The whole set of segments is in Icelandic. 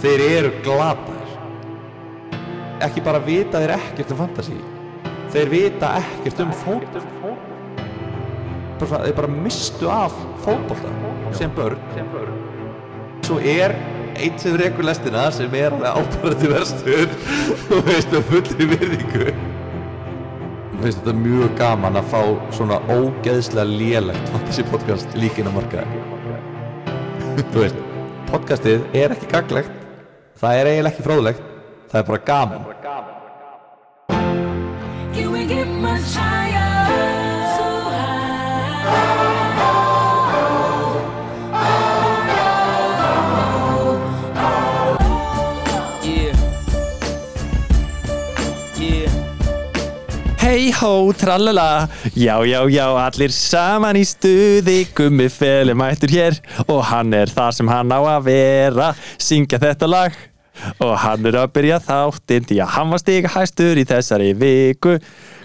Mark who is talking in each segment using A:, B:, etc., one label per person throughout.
A: þeir eru glataðir ekki bara vita þeir ekkert um fantasy þeir vita ekkert um fótbolta Bara svona, þeir bara mistu af fótbolta sem börn svo er einn sem rekur lestina sem er alveg ábærandi verstur og veist með fullri virðingu Mér finnst þetta mjög gaman að fá svona ógeðslega lélegt fantasy podcast líkin á markaði þú veist, podcastið er ekki gaglegt það er eiginlega ekki fróðlegt það er bara gaman
B: Can we get much higher? So high.
C: Yeah. Yeah. Hei hó, trallala, já, já, já, allir saman í stuði, gummi feli mættur hér og hann er þar sem hann á að vera, syngja þetta lag og hann er að byrja þáttinn því að hann var stiga hæstur í þessari viku.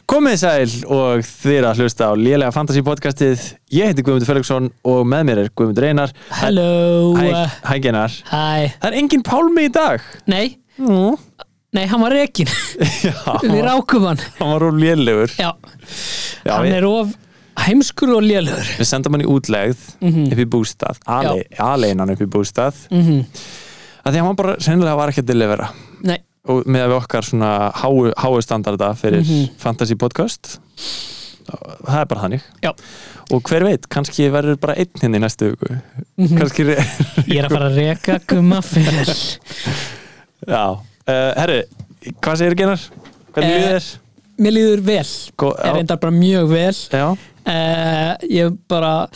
C: Komið sæl og þið er að hlusta á lélega fantasy podcastið, ég heiti Guðmundur Felixson og með mér er Guðmundur Einar.
D: Hello
C: Hæ, hæ Genar.
D: Hæ
C: Það er engin pálmi í dag.
D: Nei Nei, hann var rekin Við rákum hann
C: hann var úr lélugur
D: Já,
C: Já,
D: hann
C: við,
D: er of heimskur og lélugur
C: við sendum hann í útlegð
D: Mhm.
C: upp í bústað, ale, aleinan upp í bústað að því að hann bara sennilega var ekki að delivera
D: Nei,
C: og með að við okkar svona háu, háu standarda fyrir
D: Mhm.
C: fantasy podcast það er bara þannig
D: já,
C: og hver veit, kannski verður bara einn hinn í næstu viku
D: Mhm.
C: kannski
D: ég er að fara að reka gumma fyrir
C: já, uh, herru, hvað segir Genar? hvernig
D: Eh,
C: uh, er?
D: Mér líður vel
C: Gó- já.
D: Er reyndar bara mjög vel
C: já,
D: uh, Ég bara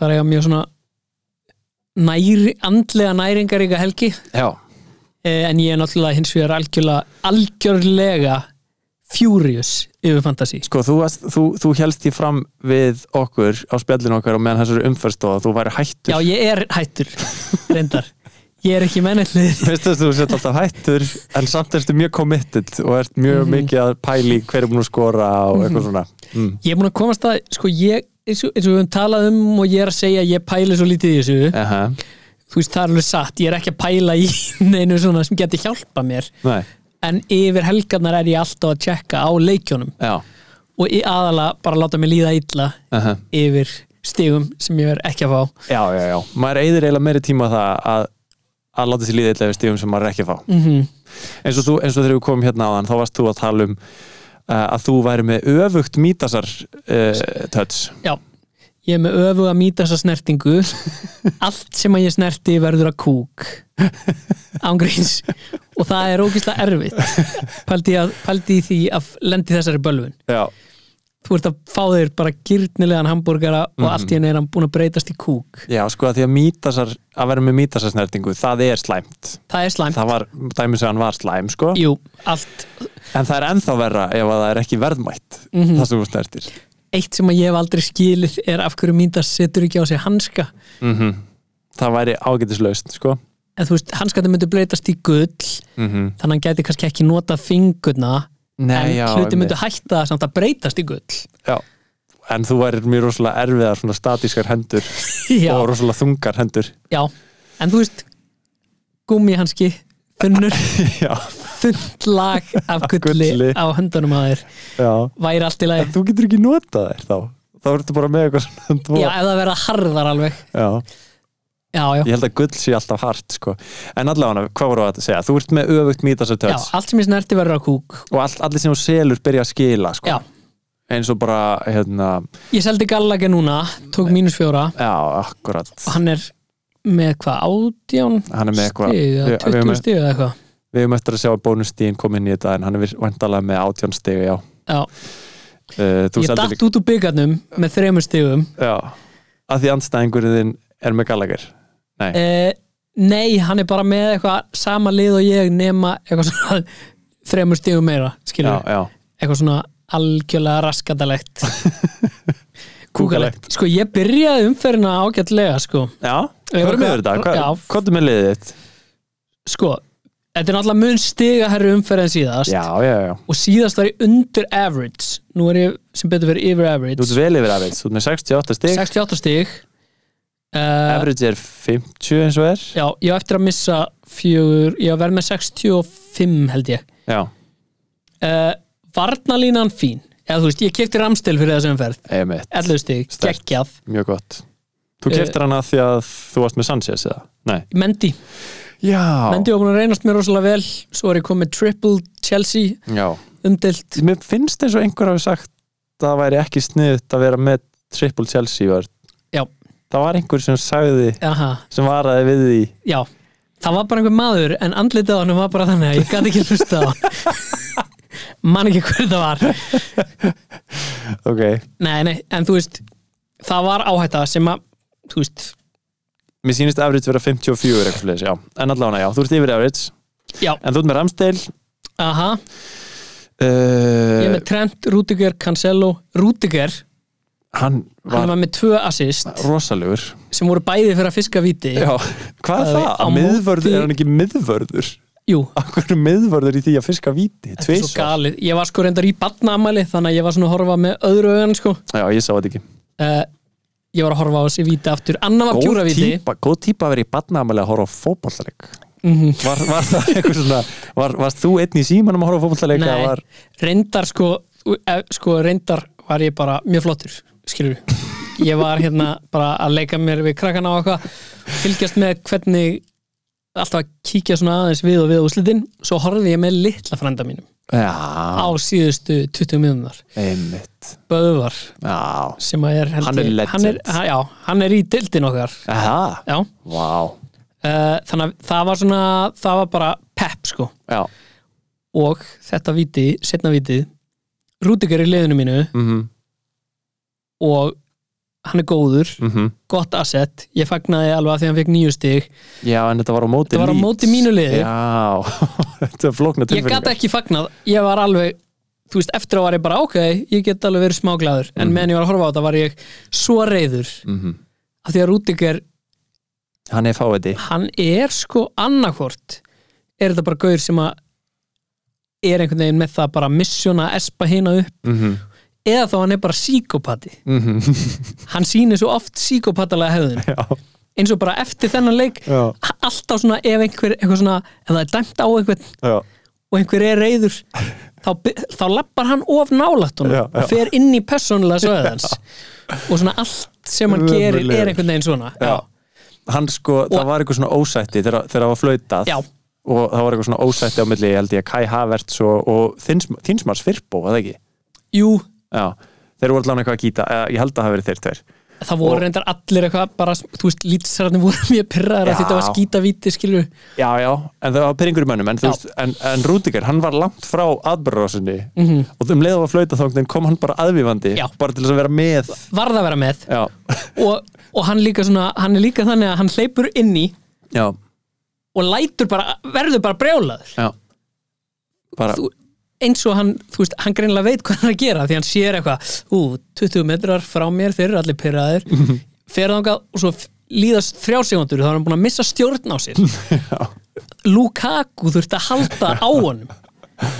D: var að eiga mjög svona næri, andlega næringaríka helgi
C: já,
D: uh, en ég er náttúrulega hins vegar algjörlega algjörlega furious yfir fantasi
C: Sko, þú, varst- þú, þú helst því fram við okkur á spjallinu okkar og meðan þessari umfærstóða þú væri hættur.
D: Já, ég er hættur, reyndar Ég er ekki mennallið
C: Veist þess að þú sett alltaf hættur en samt erstu mjög committed og ert mjög mikið að pæli hverju búin að skora og eitthvað svona. Mm.
D: Ég er búin að komast að, sko, ég eins og, eins og við höfum talað um og ég er að segja að ég pæli svo lítið í þessu
C: Uh
D: Þú veist, það er alveg satt, ég er ekki að pæla í neinu svona sem geti hjálpa mér
C: Nei,
D: En yfir helgarnar er ég alltaf að tjekka á leikjónum
C: já.
D: Og í aðalega bara láta mig líða illa
C: Uh
D: yfir stigum sem ég er ekki að fá
C: já, já, já. Maður eigður eiginlega meiri tíma á það að, að láta sér líða illa yfir stífum sem maður er ekki að fá. Mm -hmm. eins, og þú, eins og þegar við komum hérna á þann, þá varst þú að tala um uh, að þú væri með öfugt mítasar uh, touch.
D: Já, ég er með öfuga mýta þessa snertingu Allt sem að ég snerti verður að kúk Ángríns Og það er ógislega erfitt Pældi, að, pældi í því að lendi þessari bölvun
C: Já,
D: Þú ert að fá þér bara gyrnilegan hambúrgara
C: Mhm.
D: og allt í henni er hann búin að breytast í kúk
C: Já, sko að því að mítasar, að vera með mítasarsnertingu, það er slæmt.
D: Það er slæmt
C: Það var, dæmis að hann var slæm, sko.
D: Jú, allt
C: En það er ennþá verra ef að það er ekki verðmætt,
D: Mhm.
C: það sem þú snertir.
D: Eitt sem að ég hef aldrei skilið er af hverju mýta setur ekki á sig hanska
C: Það væri ágætislaust, sko.
D: En þú veist, hanskandi myndi breytast í gull
C: Mhm.
D: Þannig að hann gæti kannski ekki notað fingurna En hluti
C: einmitt.
D: myndi hætta samt að breytast í gull
C: Já, en þú værir mjög rosalega erfiðar, svona statískar hendur
D: já,
C: og rosalega þungar hendur.
D: já, en þú veist gummi hanski þunnur,
C: já,
D: þunnt lag af gulli
C: Gulli.
D: á höndunum að þér
C: já.
D: væri allt í lagi,
C: En þú getur ekki notað þær þá. Þá ertu bara með eitthvað svona tvo.
D: já, ef það verða harðar alveg,
C: já.
D: já, já
C: Ég held að gull sé alltaf hart, sko. En allavega, hvað voru að segja? Þú ert með öfugt
D: já,
C: mítasartöðs.
D: allt sem ég snerti verður á kúk
C: og all, allir sem þú selur byrja að skila sko.
D: já,
C: eins og bara hérna,
D: ég seldi Gallagher núna tók mínus fjóra
C: já, akkurat
D: og hann er með hvað, átján
C: Hann er með eitthvað-
D: stig, eða
C: við- við
D: 20
C: erum með-
D: stig eða eitthvað
C: við höfum eftir að sjá að bónustíðin kom inn í þetta en hann er vandalega með átján stig já.
D: já,
C: Uh, þú
D: ég
C: seldir
D: datt út úr byggarnum með þremur stigum
C: já, að því andstæðingurinn þinn er með gallagir nei,
D: Eh, nei, hann er bara með eitthvað sama lið og ég nema eitthvað svona þremur stigum meira
C: já,
D: skilur,
C: já,
D: eitthvað svona algjörlega raskatalegt
C: Kúkalegt.
D: sko ég byrjaði umferðina ágætlega sko,
C: já
D: Ég
C: höfum við
D: var-
C: þetta,
D: Já.
C: hvað, hvað er með liðið þitt?
D: sko þetta er náttúrulega mun stiga herri umferðin síðast
C: já, já, já,
D: og síðast var ég undir average nú er ég sem betur verið yfir
C: þú
D: average
C: ert vel yfir aðeins þú ert með 68 stig
D: 68 stig uh,
C: Average er 50 eins og er
D: Já, ég á eftir að missa fjögur Ég á að vera með 65 held ég
C: Já,
D: uh, Varnalínan fín Eða þú veist, ég kefti ramstil fyrir þessum ferð
C: einmitt
D: 11 stig,
C: Sterkt.
D: geggjað
C: Mjög gott Þú
D: Eh,
C: keftir hana því að þú varst með Sanchez eða? Nei
D: Mendy,
C: Já
D: Mendy var búin að reynast mér rosalega vel Svo er ég komið triple Chelsea
C: Já
D: umdelt
C: Mér finnst eins og einhver hafi sagt að það væri ekki sniðut að vera með triple Chelsea var
D: Já.
C: Það var einhver sem sagði
D: Aha,
C: sem varaði við því
D: já Það var bara einhver maður en andlitið á hann var bara þannig að ég gæti ekki hlusta á hann Man ekki hver það var
C: Ok
D: Nei, nei, en þú veist Það var áhætta sem að Þú veist,
C: Mér sýnist average vera 54 eitthvað slags, já. En allavega, já, þú ert yfir average.
D: Já.
C: En þú ert með Ramsdale.
D: aha Ég er
C: Uh,
D: með Trent, Rudiger, Cancelo Rudiger,
C: hann var,
D: hann var með tvö assist
C: rosalegur.
D: sem voru bæði fyrir að fiska viti
C: Já. Hvað
D: Það
C: er
D: er
C: það?
D: á
C: Að miðvörður,
D: móti-
C: er hann ekki miðvörður?
D: Jú,
C: Akkur er miðvörður í því að fiska víti?
D: þetta er svo
C: Tveisvar.
D: galið Ég var sko reyndar í barnaamæli þannig að ég var svona að horfa með öðru augan sko.
C: Já, ég sá þetta ekki.
D: uh, Ég var að horfa á þessi viti aftur Anna var pjúra viti
C: típa, góð típa að vera í barnaamæli að horfa á fótballleik.
D: Mhm.
C: Var, var það eitthvað svona, var, varst þú einn í símanum að horfa á fótballleik?
D: Nei,
C: Var,
D: reyndar sko, eh, sko reyndar var ég bara mjög flottur skilur ég var hérna bara að leika mér við krakkana og eitthvað fylgjast með hvernig alltaf að kíkja svona aðeins við og við úslitin svo horfði ég með litla frænda mínum á
C: já,
D: síðustu 20 miðunar
C: einmitt.
D: Böðvar
C: Já.
D: sem að er held
C: Hann er
D: ég- hann er,
C: legend.
D: hann, já, hann er í dildin okkar
C: Aha,
D: já,
C: vá.
D: uh, þannig að það var svona það var bara pepp sko
C: Já.
D: og þetta viti, setna vitið Rúdikar í liðinu mínu
C: Mhm,
D: og hann er góður,
C: mhm.
D: gott asset ég fagnaði alveg að því hann fekk nýju stig
C: Já, en þetta var á móti
D: Þetta var á
C: Leeds.
D: móti mínu liði.
C: Já, þetta er flókna
D: ég
C: tilfinningar
D: gat ekki fagnað, ég var alveg þú veist, eftir á var ég bara ok ég get alveg verið smáglæður, en meðan ég var að horfa á þetta var ég svo reyður
C: Mhm.
D: af því að Rúdikar,
C: Hann er fáiði
D: hann er sko annarkvort, er þetta bara gaur sem að er einhvern veginn með það bara að missjóna að espa hina upp
C: mm -hmm.
D: eða þá hann er bara síkopati hann sýnir svo oft síkopatalega hefðun
C: Mhm. Já,
D: eins og bara eftir þennan leik
C: já,
D: alltaf svona ef einhver eitthvað svona, ef það er dæmt á einhvern
C: já
D: og einhver er reyður þá, by- þá lappar hann of nálægt honum
C: Já, já.
D: og fer inn í persónulega söðans og svona allt sem hann gerir
C: Ömurlegur.
D: er einhvern veginn svona
C: Já. Hann sko, það var eitthvað svona ósætti þegar þegar það var flautað
D: Já.
C: og það var eitthvað svona ósætti á milli, ég held ég, Kai Havertz og, og Þinsmar Svirpo, eða ekki?
D: jú,
C: Já, þeir voru allan eitthvað að gíta eða, ég held að það hafi verið þeir tveir
D: það voru
C: Og-
D: reyndar allir eitthvað bara, þú veist, lítisararnir voru mjög pyrraðar
C: Já.
D: að þetta var skítavíti, skilur
C: Já, já, en það var pyrringur í mönnum en, þú
D: Já.
C: veist, en, en Rúdikar, hann var langt frá aðbararásinni -hmm. og þeim leiða á að flauta þóknin kom hann bara aðvífandi
D: Mhm. Já.
C: bara til þess að vera með
D: varð að vera með
C: Já,
D: og, og hann líka svona, hann er líka þannig að hann hleypur inn í
C: já,
D: og lætur bara, verður bara brjálaður
C: já bara,
D: Þú- eins og hann, þú veist, hann greinlega veit hvað hann er að gera því hann sér eitthvað, ú, 20 metrar frá mér, þeir eru allir pyrraðir fer þangað og svo f- líðast þrjár segundur, þá er hann búin að missa stjórn á sér Lukaku þurfti að halda á honum
C: já,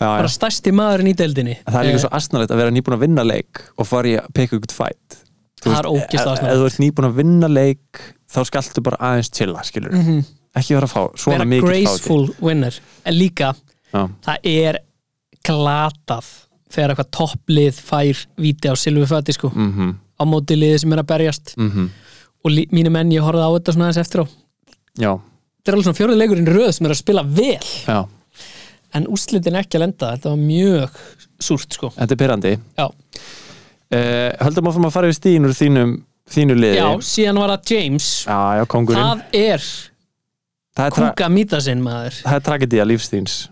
C: já.
D: bara stærsti maðurinn í deildinni
C: það er líka
D: Eh,
C: svo astnalegt að vera nýbúin að vinna leik og fara í að peka ykkur fætt
D: Það er ógeðslega asnalegt.
C: eh, ef þú ert nýbúin að vinna leik þá skaltu bara aðeins chilla, skilur ekki vera að fá
D: Mhm.
C: svona
D: vera
C: mikið
D: graceful winner en líka,
C: fáti
D: það er glatað þegar eitthvað topplið fær víti á silfufæti sko,
C: mm -hmm,
D: á móti liði sem er að berjast
C: mm -hmm.
D: og lí- mínu menn, ég horfði á þetta svona aðeins eftir á
C: já,
D: þetta er alveg svona fjórið leikurinn í röð sem er að spila vel
C: já,
D: en úrslitin ekki að lenda, þetta var mjög súrt sko,
C: þetta er pyrrandi
D: já,
C: uh, höldum áfram að fara við stíðin úr þínum, þínu liði
D: já síðan var það James
C: já, já, kongurinn það,
D: það er
C: er, tra
D: kúka mítasinn maður
C: það er tragedía lífstíns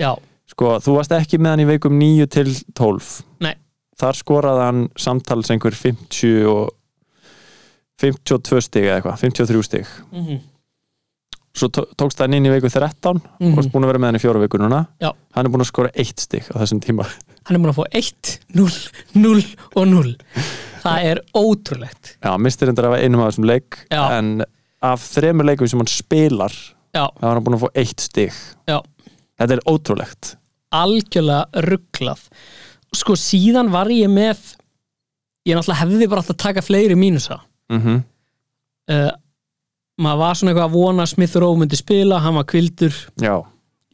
D: já,
C: sko, þú varst ekki með hann í veikum 9 til 12
D: nei,
C: þar skoraði hann samtals einhver 50 og 52 stig eða eitthvað, 53 stig
D: Mhm.
C: svo tó- tókst hann inn í veiku 13
D: Mhm.
C: og er búin að vera með hann í fjóra veiku núna
D: Já.
C: hann er búin að skora eitt stig á þessum tíma
D: hann er búin að fá 1, 0, 0 og 0 það er ótrúlegt
C: já, mistir endur af einum af þessum leik
D: Já.
C: en af þremur leikum sem hann spilar
D: já,
C: þá er hann búin að fá eitt stig
D: já,
C: þetta er ótrúlegt
D: algjörlega rugglað sko síðan var ég með ég náttúrulega hefði bara átt að taka fleiri mínusa
C: mm -hmm.
D: uh, maður var svona eitthvað að vona að Smith Rowe myndi spila, hann var kvildur
C: já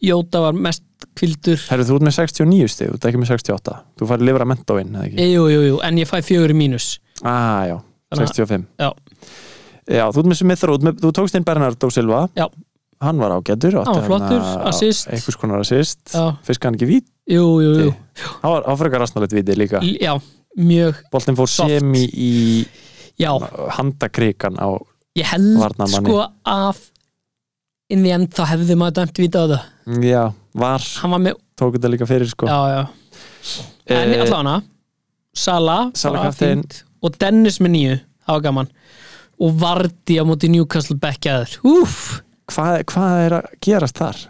D: Jóta var mest kvildur
C: Herru, þú ert með 69 stig, þú ert ekki með 68 Þú farið lifra mentóinn, eða ekki?
D: Eh, jú, jú, jú, en ég fæ fjögur í mínus
C: Ah, já,
D: Þannig að-
C: 65
D: já,
C: Já, þú ert með Smith Rowe, þú ert með- þú tókst inn Bernardo Silva
D: Já.
C: Hann var ágættur
D: Hann var flottur, assist.
C: Einhvers konar assist
D: Já.
C: Fiska hann ekki vít
D: jú, jú, jú
C: Hann var, hann var frekar rastnalegt víti líka
D: L- já, mjög,
C: Boltinn fór
D: Soft.
C: semi í
D: já,
C: handakrikan á
D: ég held
C: Varnarmanni.
D: sko að in the end þá hefði maður dæmt vita á það
C: Já, var,
D: hann var með,
C: tók þetta líka fyrir sko
D: já, já en
C: Eh,
D: allan hana Sala,
C: Sala
D: bara
C: kapteinn.
D: fínt. og Dennis með nýju, það var gaman og Vardi á móti Newcastle bekkjaður úf,
C: hvað, hvað er að gerast þar?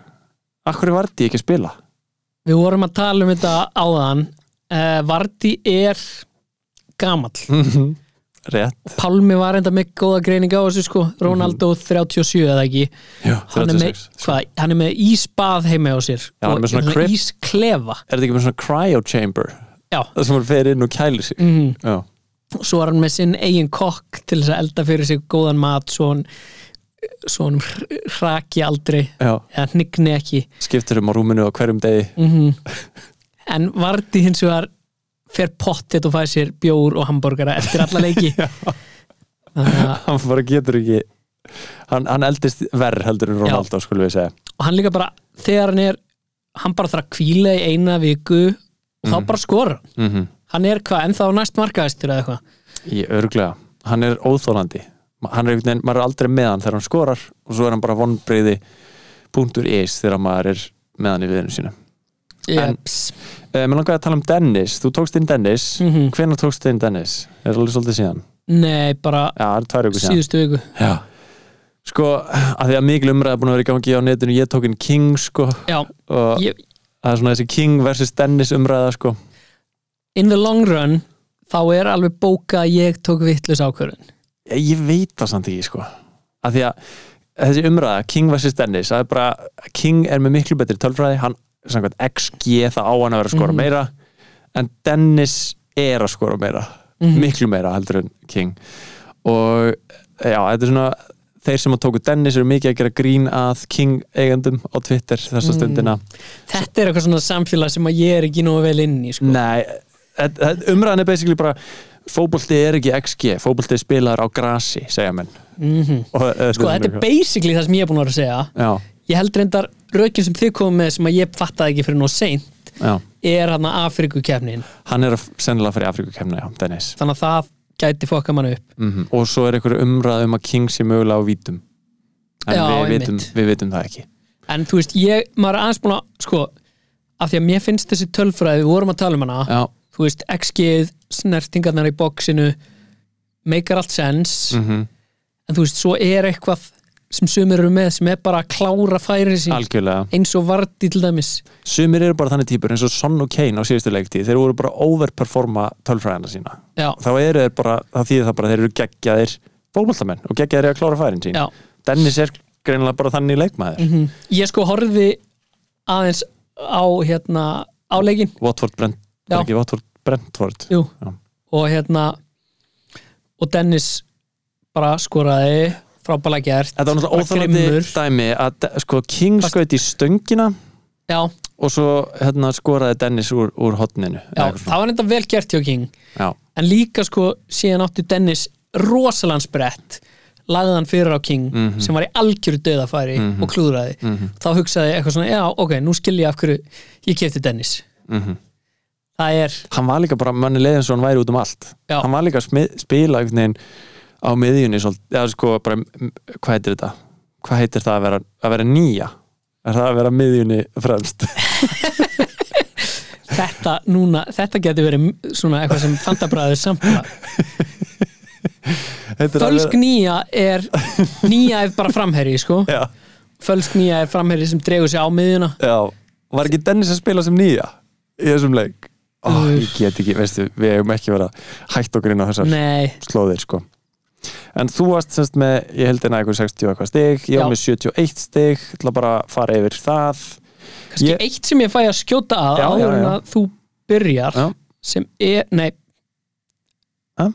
C: Akkur er Vardí ekki að spila?
D: við vorum að tala um þetta áðan uh, Vardi er gamall
C: Mhm. Rétt
D: Pálmi var enda með góða greininga á þessu sko Ronaldo
C: Mhm.
D: 37 eða ekki
C: Já,
D: hann er, með,
C: 36.
D: hvað, hann er með ísbað heima á sér
C: sko. Já, hann er með svona
D: og
C: crib.
D: ísklefa
C: Er þetta ekki með svona cryo chamber?
D: Já.
C: Það sem hann fer inn og kælir sig
D: mm.
C: Já,
D: svo er hann með sinn eigin kokk til þess að elda fyrir sig góðan mat svo hann, svo hann hr- hraki aldrei
C: já
D: eða hnigni ekki
C: Skiptir um á rúminu á hverjum degi
D: en Vardi hins vegar fer pottet og fæði sér bjór og hambúrgara eftir alla leiki Þannig að-
C: Hann bara getur ekki Hann, hann eldist verð heldur en Ronaldo skulum við segja
D: og hann líka bara, þegar hann er hann bara þarf að kvíla í eina viku og þá bara skora hann.
C: mm -hmm.
D: hann er hvað, ennþá næst markaðistur eða eitthvað
C: Í örglega Hann er óþólandi Hann er einhvern veginn, maður er aldrei með hann þegar hann skorar og svo er hann bara vonbreyði punktur is þegar maður er með hann í viðinu sínu En-
D: Jeps.
C: Uh, mér langaði að tala um Dennis, þú tókst inn Dennis mm
D: Mhm.
C: hvenær tókst inn Dennis? Er það alveg svolítið síðan?
D: nei, bara
C: Já, það er tvær ykkur síðan
D: síðustu viku
C: Já. Sko, að því að mikil umræða er búin að vera í gangi á netinu, ég tók inn King sko
D: já,
C: og
D: ég,
C: það er svona þessi King versus Dennis umræða sko
D: in the long run þá er alveg bóka að ég tók vittlis ákvörðun
C: Ég, Eh, ég veit það samt ekki sko að því að þessi umræða, King versus Dennis það er bara, King er með miklu betri tölfræði, hann, samkvæmt XG það á hann að vera að skora
D: Mhm.
C: meira en Dennis er að skora meira
D: Mhm.
C: miklu meira heldur en King og já, þetta er svona þeir sem að tóku Dennis eru mikið að gera grín að King eigendum á Twitter
D: Mhm.
C: þessa stundina
D: Sko. þetta er eitthvað svona samfélag sem að ég er ekki nógu vel inn í sko.
C: Nei, þet- þet- umræðan er basically bara fótbolti er ekki XG, fótbolti er spilaður á grasi, segja menn
D: Mhm.
C: og, eh,
D: sko, þetta er basically það sem ég er búin að vera að segja
C: Já,
D: ég held reyndar rökin sem þið komum með sem að ég fattaði ekki fyrir nóg seint
C: já,
D: er hann að Afrikukefnin
C: hann er að sennilega fyrir Afrikukemna, já, Dennis
D: þannig að það gæti fokka mann upp
C: mm og svo er einhver umræð um að King sé mögulega á vítum en
D: Já,
C: við, vitum,
D: einmitt.
C: við vitum það ekki
D: en þú veist, ég, maður er aðeins búin að sko, af því að mér finnst þessi tölfræði við vorum að tala um hana,
C: Já,
D: þú veist, XG snertingarnar í boxinu meikar allt sens
C: mm
D: en þú veist, svo er eitthvað sem sumir eru með, sem er bara að klára færi sín,
C: algjörlega
D: eins og varti til dæmis
C: sumir eru bara þannig típur eins og Son og Kane á síðustu leiktíð, þeir voru bara overperforma tölfræðina sína,
D: já,
C: þá eru þeir bara það þýðir það bara, að þeir eru geggjaðir bókbaltamenn og geggjaðir í að klára færin sín
D: já,
C: Dennis er greinilega bara þannig leikmaður
D: mhm. ég sko horfði aðeins á hérna, á leikin
C: Watford Brent,
D: Já.
C: ekki Watford Brentford
D: Jú.
C: Já.
D: og hérna og Dennis bara skoraði frábæla gert
C: Þetta var
D: bara
C: náttúrulega óþálandi
D: grimmur.
C: dæmi að de- sko King
D: Fast-
C: skaut í stöngina
D: já,
C: og svo hérna skoraði Dennis úr, úr hotninu
D: já, það var enda vel gert hjá King
C: já,
D: en líka sko síðan átti Dennis rosalann sprett lagði hann fyrir á King sem var í algjöru döðafæri og klúðraði þá hugsaði ég eitthvað svona, já ok, nú skil ég af hverju ég kefti Dennis
C: Mhm.
D: það er,
C: hann var líka bara manni leiðin svo hann væri út um allt
D: Já.
C: hann var líka að smi- spila einhvern veginn á miðjunni svolítið, eða sko bara, m- hvað heitir þetta hvað heitir það að vera, að vera nýja er það að vera miðjunni fremst
D: þetta núna þetta geti verið svona eitthvað sem fandabræður samtla
C: Heitir það að
D: Fölsk nýja er nýja er bara framherji sko
C: vera,
D: Fölsk nýja er framherji sem dregur sig á miðjuna
C: já, já, var ekki Dennis að spila sem nýja í þessum leik Ó, ég get ekki, veistu, við hefum ekki verið að hætt okkur inn á þessar
D: Nei,
C: slóðir sko en þú varst semst með, ég held hérna eitthvað 60 eitthvað stig, ég
D: Já.
C: var með 71 stig til að bara fara yfir það
D: kannski
C: Ég-
D: eitt sem ég fæ að skjóta að
C: Já, já,
D: áður en
C: já.
D: að þú byrjar
C: Já.
D: sem er, nei
C: Ha?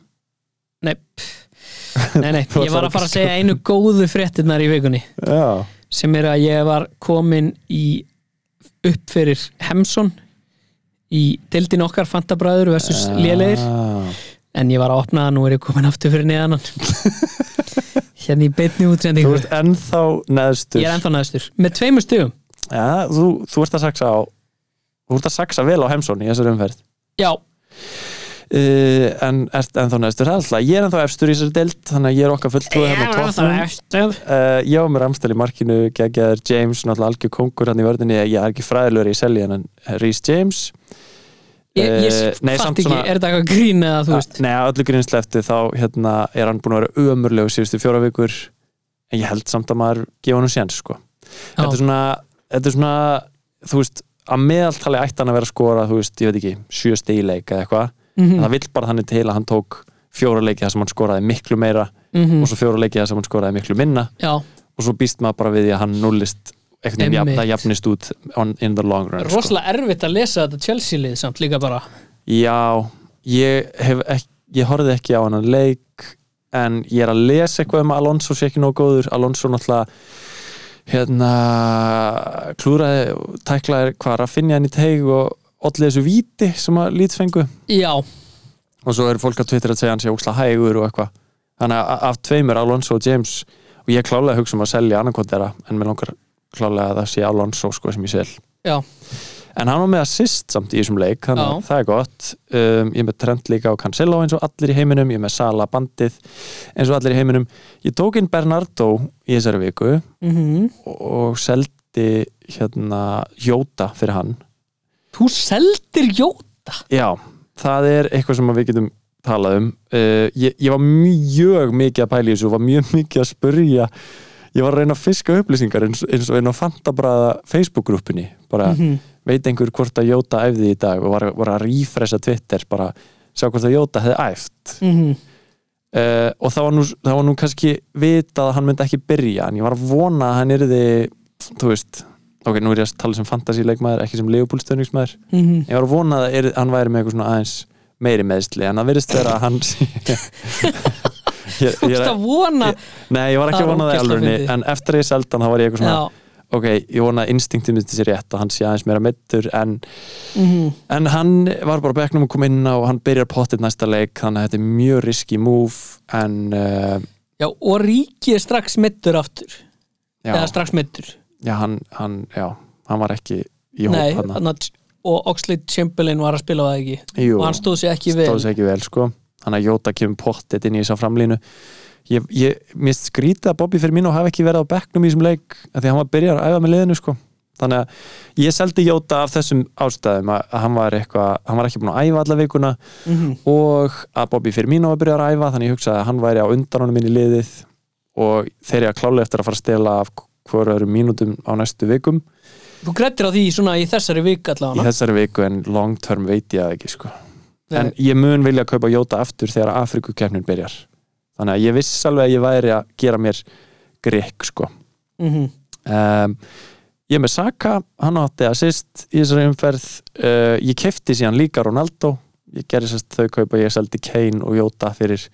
D: Nei Nei, nei, ég var að fara að segja einu góðu fréttinnar í vikunni
C: Já,
D: sem er að ég var komin í upp fyrir Hemsson í deildin okkar fantabræður versus lélegir
C: Ah.
D: en ég var að opna það, nú er ég komin aftur fyrir neðan hann hérna í beinni
C: Þú
D: útsendingu
C: ert ennþá neðstur
D: ég er ennþá næstur, með tveimur stugum
C: Já, þú, þú ert að saksa á Þú ert að saksa vel á Hemsón í þessari umferð
D: já,
C: uh,
D: Eh,
C: En ert ennþá neðstur alltaf Ég er ennþá efstur í þessari deild Þannig að ég er okkar fulltrúi hérna á toppnum
D: efstöð
C: Uh, já, mér amstæli markinu, geggjaður James, náttúrulega algjör kongur hann í vörðinni ég er ekki fræðilegur í selji en Rhys James
D: ég, ég
C: Eh, nei, samt
D: fatt ekki,
C: svona- Ah,
D: er þetta eitthvað grín eða þú veist
C: Nei, að öllu grinslefti þá hérna, er hann búin að vera ömurlegur síðustu fjóra vikur en ég held samt að maður gefa hann séns sko. þetta, er svona, þetta er svona þú veist, að meðaltali ætti hann að vera að skora þú veist, ég veit ekki, sjö stig í leik eða eitthvað,
D: Mhm, Hmm.
C: en það vill bara þannig til að hann tók fjóra leiki þar sem hann skoraði miklu meira
D: Mhm.
C: og svo fjóra leiki þar sem hann skoraði miklu minna
D: já,
C: og svo býst maður bara við því að hann nullist einhvern veginn
D: Einmitt.
C: jafn, það jafnist út on, in the long run sko.
D: rosalega erfitt að lesa þetta Chelsea-lið samt líka bara
C: Já, ég hef ekki ég horfði ekki á hann leik en ég er að lesa eitthvað um að Alonso sé ekki nóg góður, Alonso náttúrulega hérna klúraði, tæklaði hvað að finna hann í teig og allir þessu víti sem að lítfengu
D: já,
C: og svo eru fólk að Twitter að segja hann sé óksla hægur og eitthvað þannig að af tveimur Alonso og James og ég er klálega að hugsa um að selja annarkot þeirra en mér langar klálega að það sé Alonso sko sem ég sel
D: já,
C: en hann var með assist samt í þessum leik þannig að
D: Já.
C: það er gott um, ég er með Trent líka og Cancelo eins og allir í heiminum ég er með Sala bandið eins og allir í heiminum ég tók inn Bernardo í þessari viku
D: mhm
C: og, og seldi hérna Jóta fyrir hann
D: Þú seldir Jóta?
C: já, það er eitthvað sem við getum talað um uh, ég, ég var mjög mikið að pæla í þessu og var mjög mikið að spurja ég var að reyna að fiska upplýsingar eins, eins og einn á fantabræða Facebook-grúppinni bara
D: Mhm.
C: veit einhver hvort að Jóta æfði í dag og var, var að rífresa Twitter bara sjá hvort að Jóta hefði æft
D: Mm -hmm.
C: uh, og það var, nú, það var nú kannski vitað að hann myndi ekki byrja en ég var að vona að hann yrði þú veist, ok, nú er ég að tala sem fantasíleikmaður ekki sem leifbúlstöðningsmaður
D: mhm.
C: ég var að vona að er, hann væri með eitthvað svona aðeins meiri meðsli en það virðist vera að hann ég,
D: Þú
C: ég,
D: veist
C: ég,
D: að vona
C: nei, ég var ekki
D: Það
C: að
D: er
C: vona það í
D: ógeðslega
C: alvörni
D: fyndið.
C: en eftir að ég seldi hann þá var ég eitthvað
D: Já,
C: svona ok, ég vona að instinktið mitt sé rétt að hann sé aðeins meira meittur en,
D: Mhm.
C: en hann var bara á bekknum að koma inn á og hann byrjar pottið næsta leik þannig að þetta er mjög riski move en uh,
D: já, og ríkið er strax mittur aftur
C: já,
D: eða strax mittur
C: já, hann, hann, já, hann var ekki í hóp
D: Nei,
C: hann
D: annars, og Oxlade Chamberlain var að spila það ekki
C: Jú.
D: og hann stóð sér ekki vel
C: stóð sér ekki vel sko þannig að Jóta kemur pottet inn í þessa framlínu ég, ég mist skrýta að Bobby fyrir mín og hafi ekki verið á bekknum í þessum leik af því að hann var byrjar að æfa með liðinu sko þannig að ég seldi Jóta af þessum ástæðum að, að hann, var eitthvað, hann var ekki búin að æfa alla vikuna
D: Mhm.
C: og að Bobby fyrir mín var byrjar að æfa þannig að ég hugsaði að hann væri á undan honum inn í liðið og þeir eru að klálega eftir að fara að stela af hverju öðrum mínútum á næstu vikum
D: Þú grættir á því svona í þessari vik
C: í
D: allavega
C: þessari viku en long term veit ég það ekki sko
D: Nei.
C: en ég mun vilja kaupa Jóta aftur þegar Afrikukefnin byrjar þannig að ég viss alveg að ég væri að gera mér grek sko
D: mm -hmm.
C: um, ég er með Saka hann átti assist í þessari umferð uh, ég kefti síðan líka Ronaldo ég gerði sérst þau kaupa ég seldi Kane og Jóta fyrir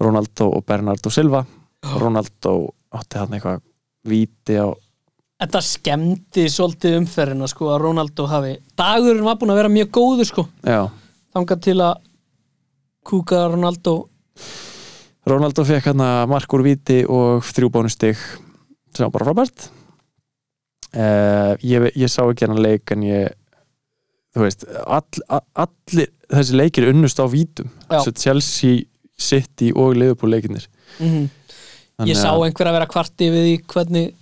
C: Ronaldo og Bernardo Silva Ronaldo átti hann eitthvað víti á
D: Þetta skemmdi svolítið umferðina sko að Ronaldo hafi dagurinn var búin að vera mjög góður sko
C: já
D: þangað til að kúka Ronaldo
C: Ronaldo fekk hann að mark úr viti og þrjú bónustig sem var bara frábært uh, ég, ég sá ekki hann leik en ég þú veist, all, a- allir þessi leikir unnust á vítum
D: Já.
C: Svo Chelsea, City og Liverpool leikinir
D: Ég sá einhver að vera kvarti við því hvernig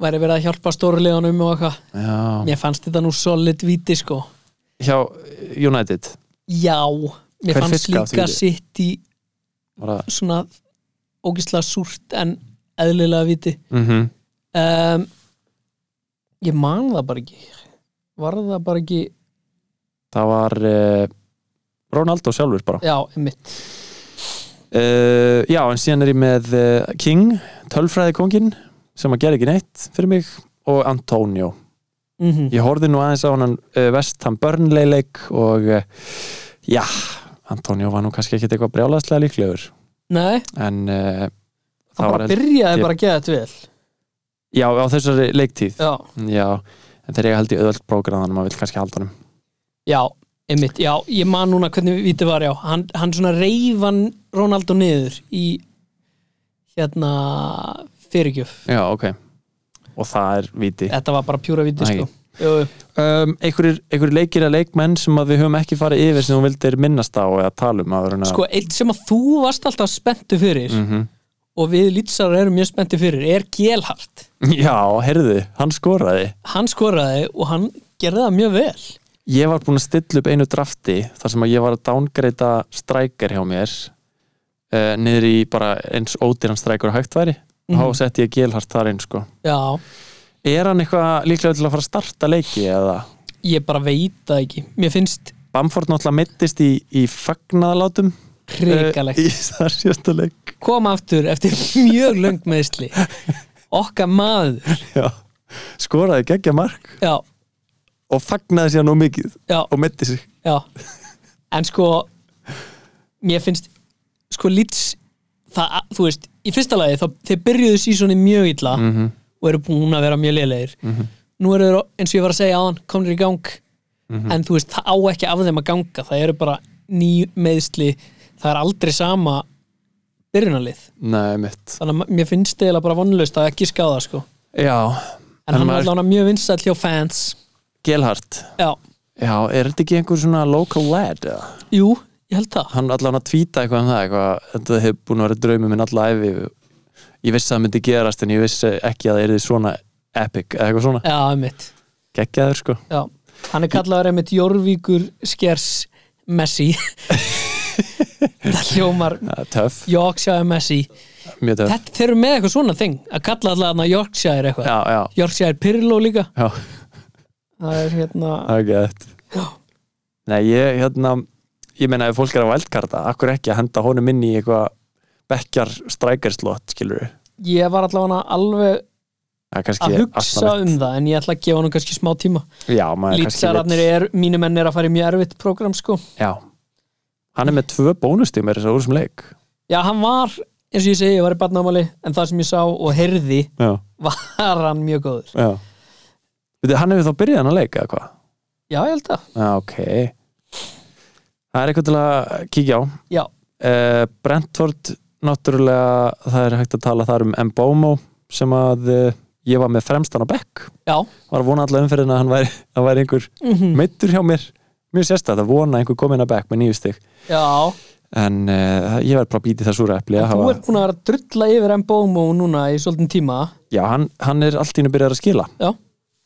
D: væri verið að hjálpa stóruleganum og eitthvað
C: já,
D: Mér fannst þetta nú solid víti sko
C: hjá United
D: Já, mér
C: Hver
D: fannst
C: fiskaði
D: líka
C: því?
D: sitt í
C: bara,
D: svona ógislega súrt en eðlilega víti
C: mm
D: um, Ég man það bara ekki Var það bara ekki
C: það var uh, Ronaldo sjálfur bara
D: Já, einmitt
C: Uh, já, en síðan er ég með uh, King, tölfræði kongin sem að gera ekki neitt fyrir mig og Antonio.
D: mm
C: Ég horfði nú aðeins á hann uh, vestan eh, börnleileik og uh, já, Antonio var nú kannski ekkit eitthvað brjálaðslega líklegur
D: Nei,
C: en uh,
D: það bara
C: held-
D: byrjaði
C: ég-
D: bara að geða þetta vel
C: já, á þessari leiktíð
D: Já,
C: já, en þegar ég held í öðvöld brókraðan maður vill kannski halda honum
D: já, einmitt, já Ég man núna hvernig vítið var, já Hann, hann svona reyfan Ronaldo niður í hérna fyrirgjöf
C: já, ok, og það er viti
D: Þetta var bara pjúra vítið,
C: Æ.
D: sko Jú, jú.
C: um, einhverjir, einhverjir leikir að leikmenn sem að við höfum ekki farið yfir sem þú vildir minnast á eða tala um áður en að
D: Sko, eitt sem að þú varst alltaf spenntu fyrir
C: Mhm.
D: og við lýtsarar erum mjög spenntu fyrir er Gelhart
C: já, heyrðu, hann skoraði
D: Hann skoraði og hann gerði það mjög vel
C: ég var búinn að stilla upp einu drafti þar sem að ég var að dángreita strækar hjá mér uh, niður í bara eins ódýran strækur hægt væri
D: Mhm.
C: og þá setti ég gilhart þar inn sko
D: Já,
C: er hann eitthvað líklega til að fara að starta leiki eða
D: ég bara veit það ekki Mér finnst
C: Bamford náttúrulega mittist í, í fagnaðalátum
D: hrikalegt
C: Eh, í þar sjösta leik
D: Kom aftur eftir mjög löng meðsli Okka maður
C: já. skoraði geggja mark
D: Já,
C: og fagnaði sér nú mikið
D: já,
C: og mitti sig
D: já En sko Mér finnst sko lýts það, þú veist, í fyrsta lagi þá, þeir byrjuðu sísoni mjög illa
C: Mhm.
D: og eru búin að vera mjög lélegir nú eru þeir, eins og ég var að segja á hann komnir í gang
C: Mhm.
D: en þú veist, það á ekki af þeim að ganga það eru bara ný meðsli það er aldrei sama byrjunalið
C: Nei, mitt
D: þannig að ma- mér finnst eiginlega bara vonlaust að ekki skáða sko.
C: Já,
D: en,
C: En
D: hann var
C: maður-
D: allavega mjög vinsall hjá fans
C: Gelhart
D: já,
C: Já, er þetta ekki einhver svona local lad eða?
D: jú, ég held það
C: hann allan að tvíta eitthvað um það eitthvað, þetta hefur búin að vera draumi minn alla æfi ég vissi að það myndi gerast en ég vissi ekki að það er svona epic eða eitthvað svona,
D: já, einmitt
C: geggjaður sko
D: já. hann er kallaður einmitt Jórvíkur Skers Messi það hljómar
C: það er töff,
D: Yorkshire Messi
C: mjög töff
D: Þetta, þeir eru með eitthvað svona þing að kalla allavega hann Yorkshire eitthvað
C: já, já,
D: Yorkshire Pirlo líka
C: já,
D: það er hérna
C: það er gett nei, ég, hérna ég meina ef fólk er að vældkarta, akkur ekki að henda honum inn í eitthvað bekkjar strækarslott, skilur við
D: ég var allavega alveg
C: það er
D: að
C: kannski
D: hugsa um það en ég ætla að gefa hann kannski smá tíma
C: um já, maður kannski
D: lýtsararnir er, mínu menn er að fara í mjög erfitt program sko.
C: já, hann er með tvö bónustíð með þess að úr sem leik
D: já hann var, eins og ég segi, ég var í barnámali en það sem ég sá og heyrði
C: já,
D: var hann mjög góður
C: já Veitu, hann hefur þá byrjað hann að leika eða hvað?
D: já ég held að,
C: Já, Ah, ok Það er eitthvað til að kíkja á
D: já,
C: uh, Brentford náttúrulega það er hægt að tala þar um Mbomo sem að uh, ég var með fremstan á Beck
D: já,
C: var að vona alla umferðina að hann væri, að væri einhver
D: Mhm.
C: meittur hjá mér mjög sérstætt að vona að einhver komin að Beck með nýju stig
D: já
C: en uh, ég verð bara að býti það súra epli að
D: þú
C: hafa-
D: ert búin að vera að drulla yfir Mbomo núna í svolítinn tíma
C: Já, hann, hann er allt í hennu byrjar að skila
D: já,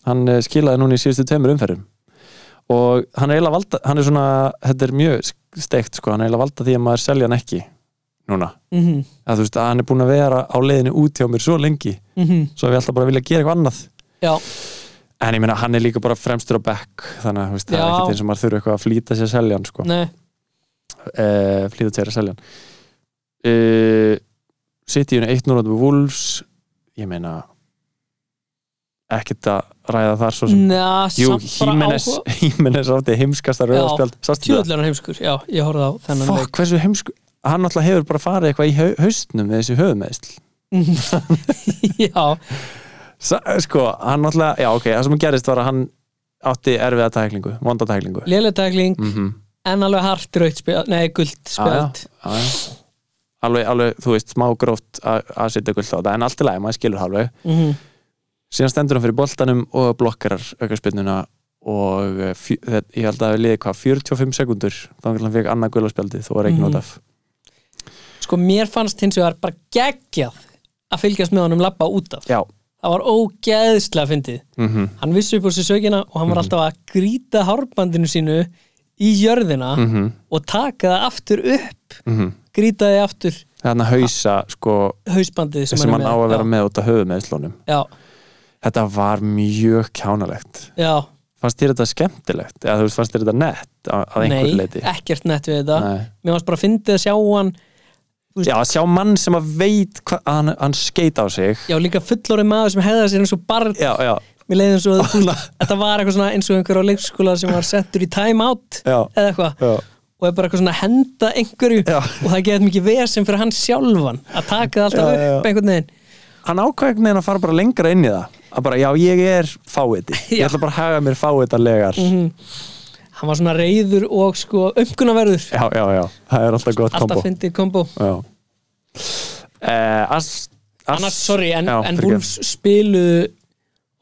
C: hann eh, skilaði núna í síðustu tveimur umferðum og hann er eiginlega valda hann er svona, þetta er mjög steikt sko, hann er eiginlega valda því að maður selja hann ekki núna,
D: mhm
C: að þú veist að hann er búin að vera á leiðinu út hjá mér svo lengi
D: mhm,
C: svo að við alltaf bara vilja gera eitthvað annað
D: já,
C: en ég meina hann er líka bara fremstur á back þannig að þú veist, það er
D: Já.
C: ekkert eins og maður þurfa eitthvað að flýta sér að selja hann sko,
D: nei,
C: e, flýta sér að selja hann e, City unni 1-0 með Wolves ég meina ekkert að ræða þar svo sem
D: na,
C: Jú,
D: samt bara
C: Hímenes,
D: áhuga
C: Hímenes átti heimskasta
D: Já.
C: rauðarspjald Sástu það?
D: tjóðlega heimskur, já, ég horfði á þennan leik.
C: Fokk, hversu heimsku Hann náttúrulega hefur bara farið eitthvað í hau- haustnum með þessi höfumeðsl
D: já,
C: Sko, hann náttúrulega, já ok, það sem gerist var að hann átti erfiða tæklingu, vonda tæklingu
D: léletækling
C: mm -hmm.
D: en alveg hart raukt spjald, nei guld spjald
C: Alveg, alveg, þú veist, smá gróft að að setja gult á þetta, en allt í lagi, maður skilur það alveg
D: Mhm.
C: síðan stendur hann fyrir boltanum og blokkarar aukarspilnuna og eh, fjö- þetta- ég held að það hafi liðið hvað 45 sekundur, þá hann fekk annað gulaspjaldi þó var ekki
D: Mhm.
C: nót af
D: sko mér fannst hins vegar bara geggjað að fylgjast með honum labba út af
C: Já,
D: það var ógeðslega fyndið
C: mm
D: hann vissi upp úr sér sögina og hann var
C: Mhm.
D: alltaf að grýta hárbandinu sínu í jörðina
C: Mhm.
D: og taka það aftur upp
C: -hmm.
D: grýta þið aftur
C: þannig að hausa sko,
D: hausbandið sem,
C: sem
D: hann
C: hann
D: er
C: á
D: með
C: að vera með út af höfumeðslunum
D: já,
C: þetta var mjög kjánalegt
D: já, já.
C: fannst þér þetta skemmtilegt eða þú veist, fannst þér þetta nett að, að einhverju
D: nei,
C: leiti
D: ekkert nett við þetta
C: Nei.
D: mér fannst bara fyndið að sjá hann
C: já, að sjá mann sem að veit hva, að hann, hann skeit á sig
D: já líka fullorinn maður sem hefða sér eins og barn
C: já, já,
D: mér leiði eins og að þú- þetta var eitthvað svona eins og einhver á leikskóla sem var settur í time out
C: Já.
D: eða eitthvað
C: já,
D: og er bara eitthvað svona að henda einhverju
C: Já.
D: og það getur mikið vesinn fyrir hann sjálfan að taka það alltaf
C: Já, já, já.
D: upp einhvern veginn
C: hann ákveð með að fara bara lengra inn í það að bara já ég er fáiði ég
D: Já. Mhm.
C: ætla bara að haga mér fáiðarlegar
D: hann var svona reyður og sko umkunaverður
C: já já já, það er alltaf gott kombo
D: alltaf fyndið kombo
C: já eh, as, as,
D: annars, sorry, en,
C: já,
D: en
C: fyrirgefðu.
D: Wolves spiluðu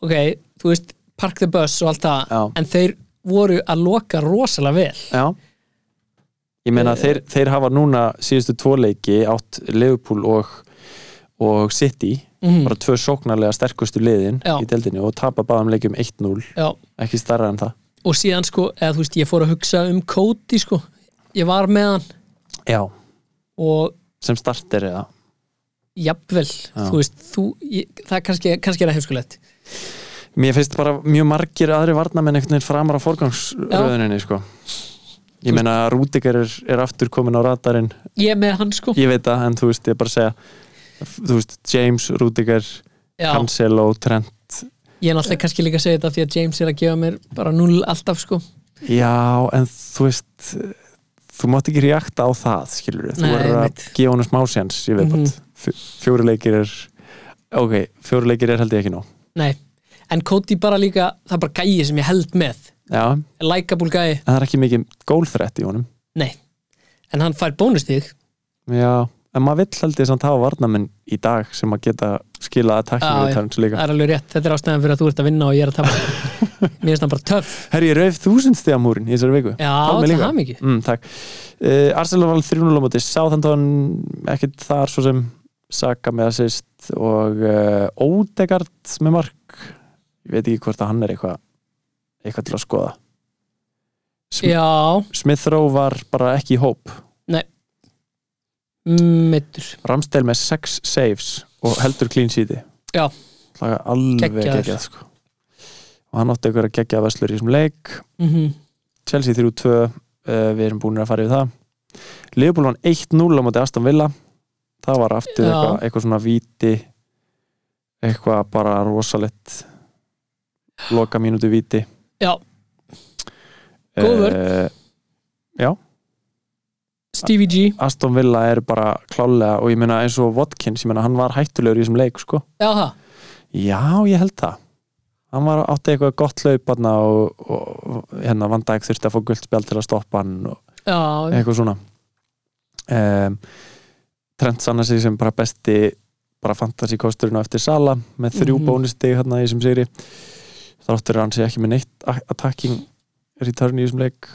D: ok, þú veist, Park the Bus og allt það,
C: Já.
D: en þeir voru að loka rosalega vel
C: já ég
D: Eh,
C: meina þeir, þeir hafa núna síðustu tvo leiki átt Liverpool og, og City bara tvö sóknarlega sterkustu liðin
D: Mhm. Já.
C: í deldinni og tapa báðum leikjum 1-0
D: Já.
C: ekki starra en það
D: og síðan sko, eða þú veist, ég fór að hugsa um Cody sko, ég var með hann
C: já,
D: og
C: sem starter eða
D: jafnvel, þú veist, þú ég, það er kannski, kannski er það hefskulegt
C: Mér finnst bara mjög margir aðri varnamenn einhvern veginn framar á forgangsröðuninni sko. Ég meina að Rúdikar er, er aftur komin á radarinn
D: ég er með hann sko,
C: Ég veit það, en þú veist, ég er bara að segja Þú veist, James, Rúdikar
D: já,
C: Cancelo, Trent
D: ég er náttúrulega kannski líka að segja þetta því að James er að gefa mér bara null alltaf sko,
C: Já, en þú veist Þú mátt ekki reakta á það, skilur Þú
D: Nei,
C: verður að
D: einmitt. Mhm.
C: gefa honum smá séns Ég veit mm Fjóri leikir er Ok, fjóri leikir er held ég ekki nóg
D: nei en Cody bara líka, það er bara gæi sem ég held með
C: Já, en
D: likeable gæi,
C: það er ekki mikið gólþrætt í honum
D: nei en hann fær bónustíð
C: Já, en maður vill held ég samt hafa varnamenn í dag sem að geta skilað að
D: Já,
C: takkinu
D: já,
C: í tarms líka.
D: Það er alveg rétt, þetta er ástæðan fyrir að þú ert að vinna og ég er að tapa Mér finnst það bara töff
C: Herri, ég rauf þúsundstíðamúrin í þessari viku.
D: Já,
C: Fá mig
D: til
C: líka.
D: hamingju.
C: Mm, takk. Uh, Arsenal var 3-0 á móti, Southampton ekkert þar svo sem Saka með assist og uh, Odegaard með mark. Ég veit ekki hvort að hann er eitthvað eitthvað til að skoða. Sm
D: Já,
C: Smith Rowe var bara ekki í hóp.
D: mittur
C: Ramsdale með 6 saves og heldur clean sheeti
D: Já.
C: Laga alveg
D: Geggjaður.
C: geggjað sko. og hann átti ykkur að geggja veslur í þessum leik
D: mm
C: Chelsea 3-2 uh, við erum búin að fara yfir það Liverpool vann 1-0 á móti Aston Villa það var aftur
D: Já.
C: eitthvað, eitthvað svona víti eitthvað bara rosalett loka mínútu víti
D: Já, Góð vörn.
C: Eh,
D: Stevie G
C: Aston Villa er bara klálega og ég meina eins og Watkins, ég meina hann var hættulegur í þessum leik sko
D: Já, það
C: Já, ég held það Hann var átti eitthvað gott hlaup hann og, og hérna vandæk þurfti að fá guldspjald til að stoppa hann og
D: Já,
C: eitthvað svona um, Trent sannar sig sem bara besti bara fantasy kosturinn á eftir Sala með þrjú mm
D: Mhm.
C: -hmm. bónustig hann í þessum sigri þráttur er hann sé ekki með neitt a- attacking return í þessum leik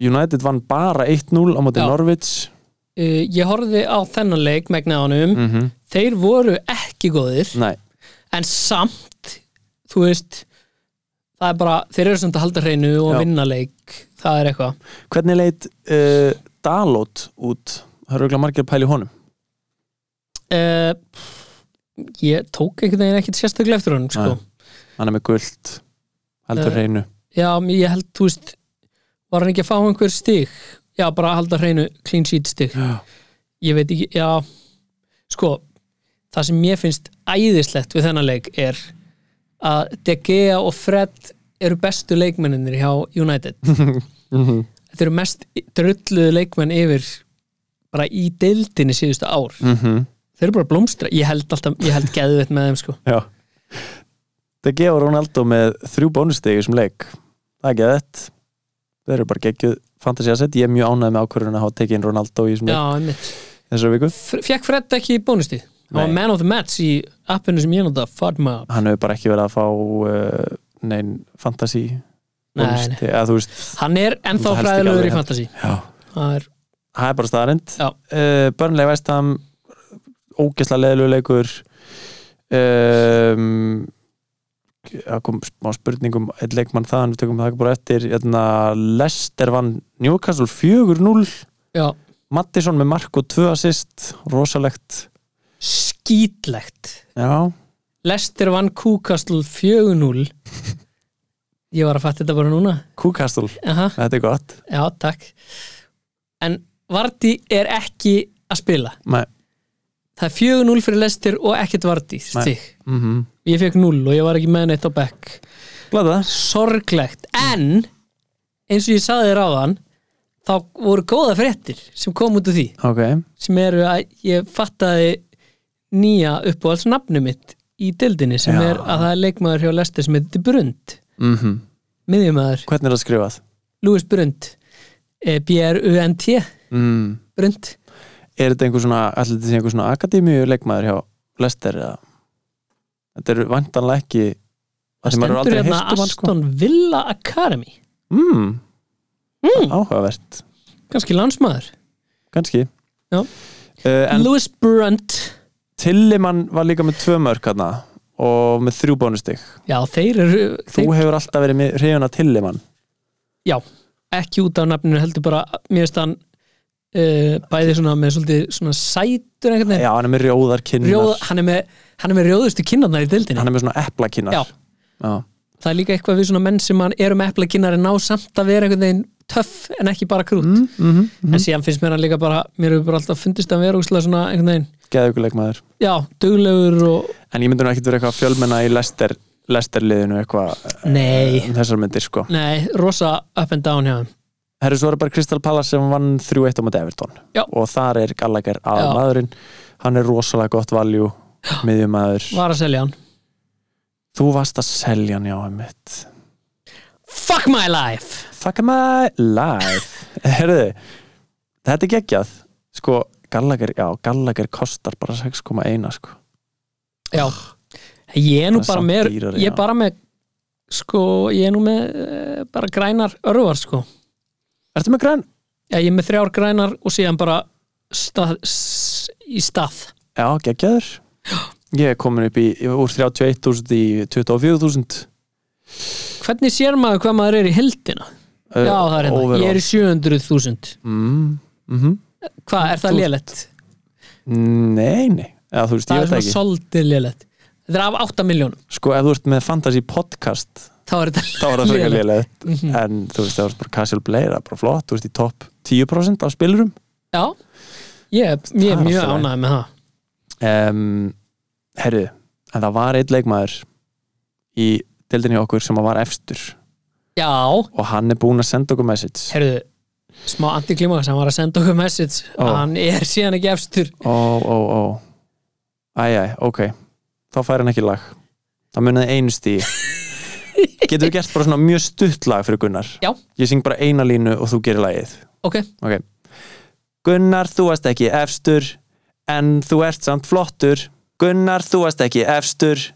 C: United vann bara 1-0 á móti
D: Já.
C: Norwich
D: uh, ég horfði á þennan leik megnaðanum mm.
C: mm -hmm.
D: Þeir voru ekki góðir
C: Nei,
D: En samt, þú veist Það er bara, þeir eru samt að halda hreinu og
C: Já.
D: vinna leik Það er eitthvað
C: hvernig leit uh, Dalot út? Það eru ekki margir að pæla í honum
D: uh, Ég tók einhvern veginn ekkert sérstaklega eftir honum sko.
C: Nei. hann er með guld heldur
D: Eh.
C: hreinu
D: Já, mér- ég held, þú veist var hann ekki að fá einhver stig já, bara að halda hreinu clean sheet stig
C: Já.
D: ég veit ekki, já sko, það sem mér finnst æðislegt við þennan leik er að De Gea og Fred eru bestu leikmenninir hjá United þetta eru mest drulluðu leikmenn yfir bara í deildinni síðustu ár
C: mm -hmm.
D: þeir eru bara að blómstra, ég held alltaf ég held geðvett með þeim sko
C: það gefur Ronaldo með þrjú bónustegi sem leik það er ekki þetta það eru bara geggjuð fantasy asset ég er mjög ánægð með ákvörðun að hafa tekið inn Ronaldo í þessum
D: já,
C: leik
D: einmitt
C: þessari viku
D: fekk Fred ekki bónustið hann var
C: Nei.
D: man of the match í appinu sem ég nota FODMAP
C: hann hefur bara ekki verið að fá uh, nein fantasy
D: Nei,
C: bónustegi eða þú veist
D: hann er ennþá
C: Það helst ekki
D: fræðilegur
C: alveg
D: í
C: heldur.
D: fantasy
C: já.
D: það er,
C: það er bara staðarind
D: Já.
C: uh, Börnlega Vestam ógesla leðluleikur um, það kom smá spurningum eitt leikmann þaðan, við tökum það ekki bara eftir hérna, Lester vann Newcastle 4-0,
D: já,
C: Mattisson með mark og 2 assist, rosalegt
D: skýtlegt
C: já,
D: Lester vann Kúkastl 4-0 ég var að fatta þetta bara núna
C: Kúkastle
D: Aha,
C: þetta er gott,
D: já, takk en Vardí er ekki að spila
C: Nei.
D: það er 4-0 fyrir Lester og ekkert Vardí
C: Nei.
D: stig.
C: mm -hmm.
D: ég fekk 0 og ég var ekki með neitt á bekk
C: glada það
D: sorglegt en eins og ég saði þér á þann þá voru góða fréttir sem kom út úr því
C: ok,
D: sem eru að ég fattaði nýja uppáhalds nafnu mitt í dildinni sem
C: Já.
D: er að það er leikmaður hjá Lester sem heitir Brund
C: mhm
D: miðjumæður,
C: hvernig er það skrifað?
D: Lúis Brund eh, B-R-U-N-T
C: Mm.
D: Brund,
C: er þetta einhver svona, allir þetta sé einhver svona akademíu leikmaður hjá Lester eða þetta eru vantanlega ekki
D: það
C: því maður hefur
D: stendur
C: aldrei
D: hérna
C: heyrt um hann, sko.
D: Aston Villa Academy
C: mm.
D: Mm.
C: áhugavert,
D: kannski landsmaður
C: kannski
D: Já.
C: Eh, en
D: Lewis Brunt
C: Tillimann var líka með tvö mörk hérna og með þrjú bónustig
D: já, þeir eru
C: þú
D: þeir,
C: hefur alltaf verið með reyðuna Tillimann
D: já, ekki út af nafninu heldur bara, mér finnst hann uh, bæði svona með svolítið svona sætur einhvern
C: já,
D: veginn
C: hann er með rjóðar kinnar
D: Rjóð, hann, er með, hann er með rjóðustu kinnarnar í dildinni
C: hann er með svona eplakinnar
D: Já.
C: Já.
D: það er líka eitthvað við svona menn sem hann eru með eplakinnar en ná samt að vera einhvern veginn töff en ekki bara krút
C: Mm, mm
D: en síðan finnst mér hann líka bara, mér hefur bara alltaf fundist að vera úslega svona einhvern veginn
C: leikmaður
D: já, duglegur og
C: en ég myndi nú ekkit vera eitthvað að fjölmenna í Lester Lesterliðinu eitthvað
D: Nei.
C: eh, um þessar myndir sko
D: nei, rosa up and down hjá hann
C: Herru, svo er bara Crystal Palace sem vann 3-1 á móti Everton
D: Já.
C: og þar er Gallagher
D: Já.
C: aðmaðurinn hann er rosalega gott valjú miðjumæður,
D: var að selja hann
C: þú varst að selja hann já, mitt
D: fuck my life
C: Fuck my life Herðu, þetta er geggjað Sko, Gallagher, já, Gallagher kostar bara 6,1 sko.
D: já, ég er nú
C: Það er
D: bara
C: samt
D: með
C: dýrari,
D: ég
C: já.
D: er bara með sko, ég er nú með eh, bara grænar örvar sko,
C: Ertu með græn?
D: já, ég er með þrjár grænar og síðan bara stað, s, í stað
C: Já, geggjaður Ég er komin upp í, úr 31.000 í 24.000
D: hvernig sér maður hvað maður er í heldina
C: uh,
D: Já, það er hérna, ég er í 700.000
C: mm, mm
D: Hvað, er það
C: Þú-
D: lélegt?
C: Nei, nei, eða þú veist,
D: Það er
C: ég veit það
D: svona
C: ekki
D: soldið lélegt Þetta er af 8 miljónum,
C: Sko, ef þú ert með fantasy podcast
D: þá er þetta
C: þá er það frekar
D: lélegt.
C: lélegt en þú veist, það var bara casual player það er bara flott, þú veist, í topp 10% af spilurum
D: Já, ég, ég er
C: Það er
D: mjög
C: alltaf
D: ánægð með það
C: um, herru, en það var einn leikmaður í deildinni hjá okkur sem að var efstur
D: Já,
C: og hann er búinn að senda okkur message
D: heyrðu, smá antiklimax hann var að senda okkur message
C: Ó.
D: Hann er síðan ekki efstur
C: ó, ó, ó æjæ, ok, þá fær hann ekki lag þá muniði einu stíi getum við gert bara svona mjög stutt lag fyrir Gunnar
D: Já.
C: ég syng bara eina línu og þú gerir lagið
D: Ok,
C: Ok Gunnar, þú varst ekki efstur En þú ert samt flottur Gunnar, þú varst ekki efstur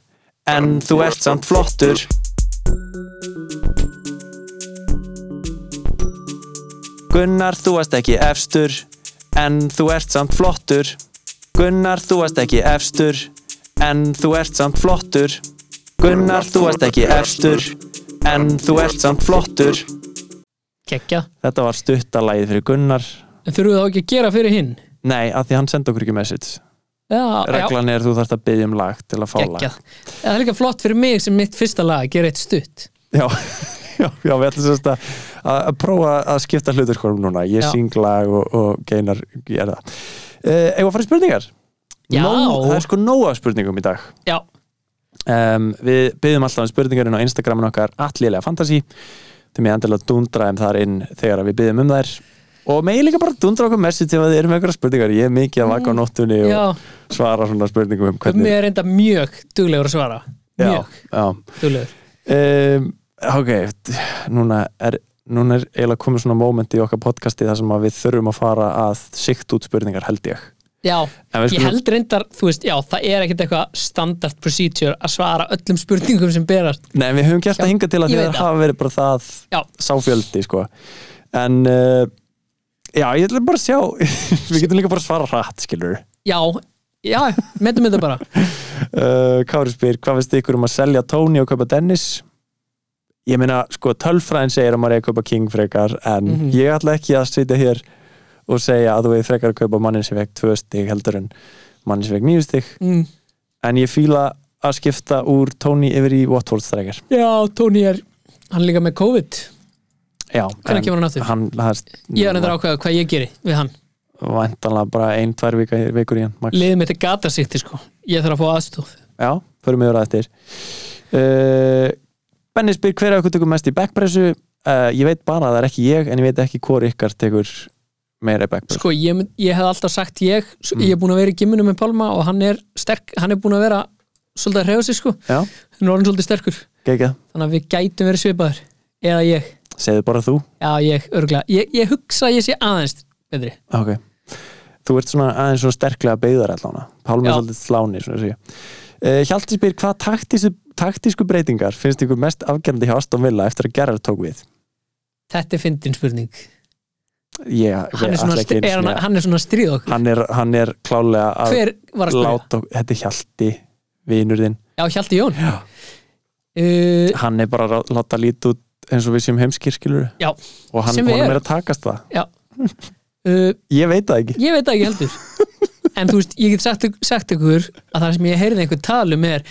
C: En þú ert samt flottur Gunnar, þú varst ekki efstur En þú ert samt flottur Gunnar, þú varst ekki efstur En þú ert samt flottur Gunnar, þú varst ekki efstur En þú ert samt flottur
D: kekkja
C: Þetta var stuttalagið fyrir Gunnar
D: En þurfum við þá ekki að gera fyrir hinn?
C: Nei, af því hann sendi okkur ekki message
D: Já, já,
C: Reglan er þú þarft að byggja um lag til að fá
D: kekkja Það er líka flott fyrir mig sem mitt fyrsta lag að gera eitt stutt
C: lag Já, já, já við ætlum sérst að, að að prófa að skipta hluturskorum núna Ég
D: Já.
C: syng lag og, og geinar gera það uh, Eða farið spurningar?
D: Já.
C: það er sko nóg af spurningum í dag
D: Já,
C: um, Við byggjum alltaf um spurningarinn á Instagramin okkar Allilega Fantasy Þegar við endilega dundraðum þar inn þegar að við byggjum um þær Og megi líka bara dundra okkur message ef að þið eru með einhverja spurningar Ég er mikið að vaka á nóttunni
D: Mm. já,
C: og svara svona spurningum um
D: Gummi
C: hvernig
D: er enda mjög duglegur að svara
C: Já,
D: Mjög
C: já
D: duglegur
C: um, ok t- núna er, núna er eiginlega komið svona moment í okkar podcasti þar sem að við þurfum að fara að sikt út spurningar held ég
D: Já,
C: En við
D: Ég
C: skulum-
D: held reyndar, þú veist, já, það er ekkert eitthvað standard procedure að svara öllum spurningum sem berast.
C: Nei, við höfum gert
D: Já,
C: það hingað til að
D: ég
C: því
D: veit
C: að
D: það.
C: hafa verið bara það
D: Já.
C: sáfjöldi sko. en uh, já, ég ætla bara að sjá við getum líka bara að svara hratt skilur
D: Já, já, metum þetta bara.
C: uh, Kári spyr, hvað veist ykkur um að selja Tony og kaupa Dennis? Ég meina, sko, tölfræðin segir að maður er að kaupa King frekar, en
D: Mhm.
C: ég ætla ekki að sitja hér og segja að þú er frekar að kaupa mannin sem fekk tvö stig heldur en mannin sem fekk nýju stig,
D: Mm.
C: en ég fíla að skipta úr Tony yfir í Watford strækjar.
D: Já, Tony er, hann er líka með COVID.
C: Já.
D: Hvenær kemur hann aftur?
C: Hann, það
D: Ég er reyndar ákveða hvað ég geri við hann.
C: Væntanlega bara ein, tvær vika, vikur í hann, max.
D: Liðið mitt er gata sýtti, sko. Ég þarf að fá aðstóð.
C: Já, Eh, förum við yfir að eftir uh, Benni spyr hver að okkur tökum mest í backpressu uh, ég veit bara að það er ekki ég en ég veit ekki hvor ykkar tekur meira backpurl
D: Sko, ég, mynd- ég hef alltaf sagt ég, s- ég er búin að vera í gimminu með Pálma og hann er sterk, hann er búin að vera svolítið að hreyfa sig sko,
C: Já,
D: hann er orðin svolítið sterkur
C: geggjað,
D: þannig að við gætum verið svipaður eða ég,
C: segðu bara þú
D: já ég, örgulega ég, ég hugsa að ég sé aðeins betri
C: Ok Þú ert svona aðeins svona sterklega beigðar allána Pálmi
D: Já.
C: er svolítið sláni svona sé ég. uh, Hjalti spyr hvað taktísu, taktísku breytingar finnst ykkur mest afgerandi hjá Aston Villa eftir að Gerrard tók við
D: þetta er fyndin spurning
C: ég, ég,
D: hann er svona,
C: ætla
D: stri,
C: ekki einu
D: er hann,
C: sinni að-
D: hann er svona að stríða okkur
C: hann er, hann er klálega að
D: hver var að spyrja?
C: láta ok- þetta er Hjalti vinur þinn,
D: já, Hjalti Jón já, uh,
C: hann er bara að rá- láta lítið út eins og við séum heimskirskilur
D: já,
C: og hann
D: Sem við
C: honum
D: erum.
C: er að takast það
D: já. Uh,
C: ég veit það ekki
D: ég veit það ekki heldur en þú veist, ég get sagt, sagt ykkur að það sem ég heyrði einhver talum er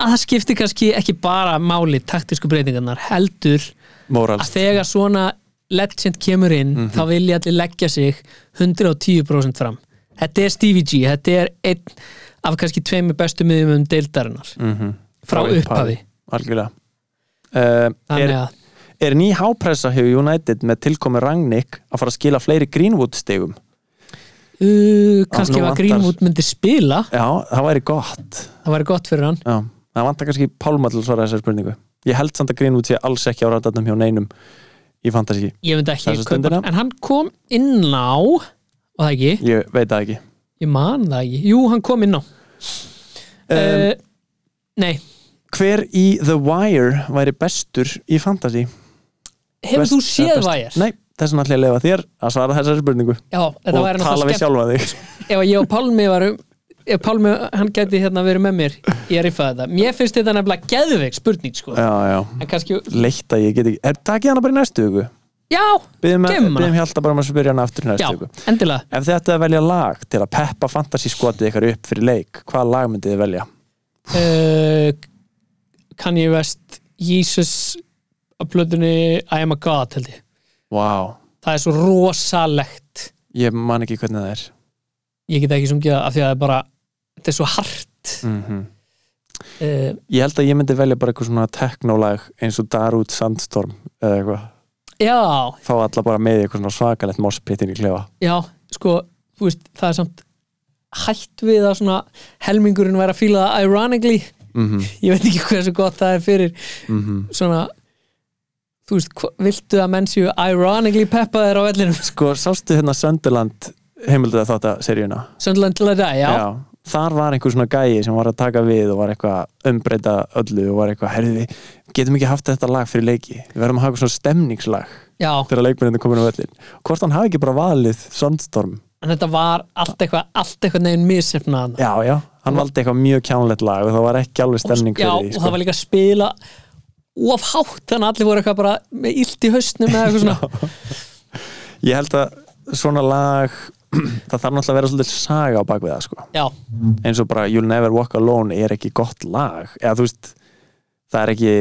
D: að það skipti kannski ekki bara máli taktísku breytingarnar heldur
C: Moral,
D: að þegar svona legend kemur inn þá
C: Mhm.
D: vilja allir leggja sig 110% fram þetta er Stevie G, þetta er einn af kannski tveimur bestu miðjum um deildarinnar
C: Mhm.
D: frá upphafi
C: algjörlega uh, er,
D: þannig að
C: Er ný hápressa hefur United með tilkomi Rangnick að fara að skila fleiri Greenwood stegum?
D: uh, kannski
C: nú
D: ef að
C: vantar-
D: Greenwood myndi spila
C: Já, það væri gott.
D: það væri gott fyrir hann
C: Já, það vantar kannski Pálma til að svara þessari spurningu. Ég held samt að Greenwood sé alls ekki á ræðarnum hjá neinum í fantasy.
D: ég myndi ekki
C: Þessa
D: kaupa hann.
C: stundina?
D: en hann kom inn á og það ekki
C: Ég veit það ekki.
D: Ég man það ekki Jú, hann kom inn á
C: Um,
D: uh, Nei,
C: hver í The Wire væri bestur í fantasy?
D: hefur
C: Best-
D: þú
C: eða
D: séð
C: best-
D: væjar?
C: Nei, þess vegna ætla ég að lefa þér að svara þessari spurningu
D: Já, þetta
C: og
D: væri
C: tala við
D: náttúrulega skemmt
C: sjálfa þig.
D: Ef ég og Pálmi varum Ef Pálmi, hann gæti hérna verið með mér Ég er yfir þetta Mér finnst þetta nefnilega geðveik spurning sko
C: Já, já.
D: En kannski,
C: Leitt að ég get ekki. Er, takið hana bara í næstu hugu.
D: já,
C: Byðum,
D: Geymum hana.
C: byðum hjálta bara um að spyrja hana aftur
D: já,
C: í næstu hugu.
D: endilega
C: Ef þið ættu að velja lag til að peppa fantasyskotið ykkar upp fyrir leik, hvaða lag myndið þið velja?
D: uh, Kanye West Jesus á plötunni I am a God held ég
C: Vá,
D: Það er svo rosalegt
C: ég man ekki hvernig það er.
D: Ég get ekki sungið það af því að það er bara Þetta er svo hart uh,
C: Mhm. Ég held að ég myndi velja bara eitthvað svona teknólag eins og Darut Sandstorm eða eitthvað.
D: Já,
C: Þá alla bara með í eitthvað svona svakalegt morspittin í klefa.
D: Já, sko, þú veist, það er samt hætt við að svona helmingurinn væri að fíla það ironically
C: Mm -hmm.
D: ég veit ekki hversu gott það er fyrir
C: Mhm.
D: svona þú veist, hva, viltu að menn séu ironically peppa þér á vellinum
C: Sko, sástu hérna Sönderland heimildið að þátt að seríuna?
D: Söndland til að dag, já, já.
C: Þar var einhver svona gæi sem var að taka við og var eitthvað að umbreyta öllu og var eitthvað, herriði, getum ekki haft þetta lag fyrir leiki. Við verðum að hafa eitthvað svona stemningslag. þegar leikmenninu komin á völlin hvort hann hafi ekki bara valið Sandstorm
D: en þetta var allt eitthvað allt eitthvað neginn missefnað
C: já, já, hann valdi eitthvað mjög kjánlegt lag og það var ekki alveg stemning
D: já,
C: fyrir því sko.
D: og það var líka að spila of hátt, þannig að allir voru eitthvað bara með illt í hausnum eða eitthvað svona
C: ég held að svona lag það þarf náttúrulega að vera svolítið saga á bakvið það sko.
D: já,
C: eins og bara You'll Never Walk Alone er ekki gott lag eða þú veist, það er ekki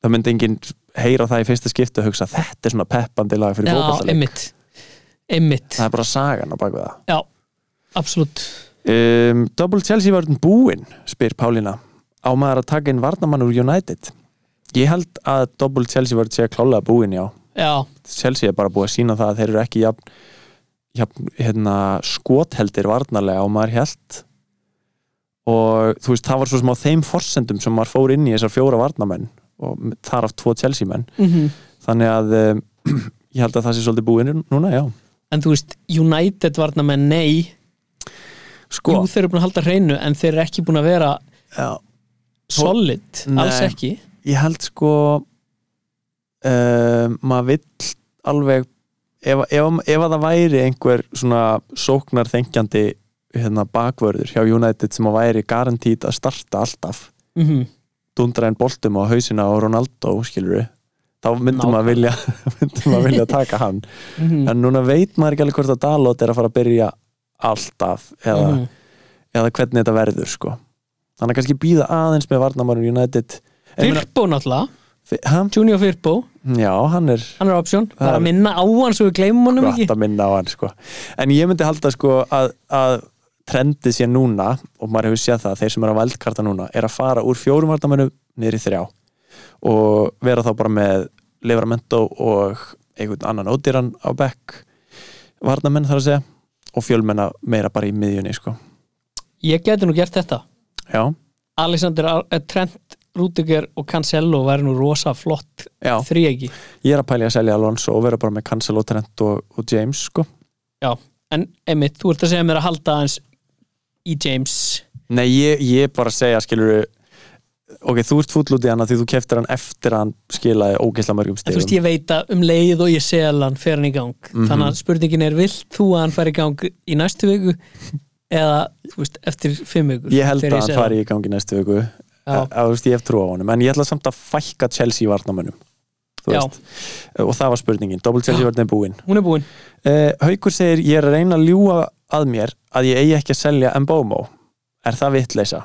C: það myndi enginn heyra það í fyrsta skiptu og hugsa þetta er svona peppandi lag fyrir
D: já,
C: bókvallaleik
D: einmitt einmitt,
C: það er bara sagan á bakvið það
D: já, absolutt
C: Um, Double Chelsea var búinn, spyr Pálína á maður að taka inn varnamann úr United ég held að Double Chelsea var sé að klálega búinn, já
D: já,
C: Chelsea er bara búið að sína það að þeir eru ekki jafn, jafn, hérna, skotheldir varnarlega og maður held og þú veist, það var svo sem á þeim forsendum sem maður fór inn í þessar fjóra varnamenn og þar af tvo Chelsea menn
D: Mhm.
C: þannig að um, ég held að það sé svolítið búinn núna, já
D: en þú veist, United varna með nei
C: sko,
D: Jú, þeir eru búin að halda hreinu en þeir eru ekki búin að vera
C: já
D: solid,
C: Nei.
D: alls ekki
C: ég held sko uh, maður vill alveg ef, ef, ef að það væri einhver svona sóknarþengjandi hérna, bakvörður hjá United sem að væri garantít að starta alltaf
D: mm
C: dundra en boltum á hausina á Ronaldo skilur þá
D: Nákvæmlega.
C: myndum maður vilja myndum maður vilja taka hann
D: -hmm.
C: en núna veit maður ekki alveg hvort að Dalot er að fara að byrja alltaf eða,
D: Mm. Mhm.
C: eða hvernig þetta verður sko þannig að kannski býða aðeins með varnamannum United En ég meina-
D: Firpo náttúrulega,
C: Fi- ha?
D: Junior Firpo
C: Já, hann er
D: hann er option,
C: Það
D: bara
C: er-
D: að minna á hann svo við gleymum honum ekki
C: gott að minna á hann sko. en ég myndi halda sko að, að trendið sé núna og maður hefur séð það, þeir sem eru á veldkarta núna er að fara úr fjórum vartamönnum niður í þrjá og vera þá bara með Livramento og einhvern annan ódýran á bekk varnamenn þar að segja og fjölmenna meira bara í miðjunni sko.
D: Ég geti nú gert þetta
C: já,
D: Alexander Ar- eh, Trent, Rudiger og Cancelo væri nú rosa flott
C: já,
D: þríegi
C: ég er að pæli að selja Alonso og vera bara með Cancelo, Trent og, og James sko.
D: Já, en einmitt, þú ert að segja mér að halda hans í James
C: nei, ég, ég er bara að segja skilur ok, þú ert fúll út í hana því þú keftir hann eftir að hann skilaði ógeðslega
D: en
C: mörgum
D: þú veist,
C: stegum
D: ég veit að um leið og ég segja hann fer hann í gang,
C: Mhm.
D: þannig að spurningin er vilt þú að hann fari í gang í næstu viku eða, þú veist, eftir fimm vikur
C: ég held að hann fari í gangi næstu viku að, að, þú veist, ég hef trú á honum en ég ætla samt að fækka Chelsea varnamönnum þú
D: Já.
C: veist, Eh, og það var spurningin double Chelsea varnamönn búinn
D: hún er búin
C: uh, Haukur segir, ég er að reyna að ljúa að mér að ég eigi ekki að selja Mbomo er það vitleisa?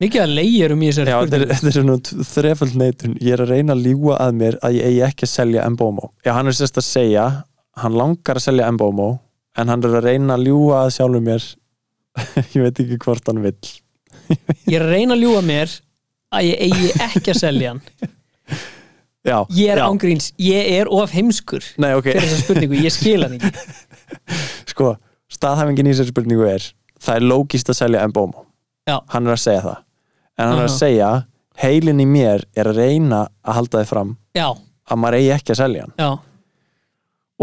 D: mikið að leiðir um í þessari
C: Já, þetta er,
D: spurningu
C: þetta er nú þreföld neitun ég er að reyna að ljúa að mér að ég eigi ekki að selja Mbomo já, hann er sérst að segja, hann langar að selja Mbomo en hann er að reyna að ljúa að sjálfum mér ég veit ekki hvort hann vill
D: ég er að reyna að ljúga mér að ég eigi ekki að selja hann
C: já,
D: ég er
C: já.
D: ángríns, ég er of heimskur
C: Nei, ok.
D: fyrir þessar spurningu, ég skil hann ekki
C: sko, staðhæfingin í þessari spurningu er það er lógist að selja Mbomo
D: Já.
C: hann er að segja það en hann er að
D: Aha.
C: segja, heilin í mér er að reyna að halda þið fram
D: já,
C: að maður eigi ekki að selja hann
D: já,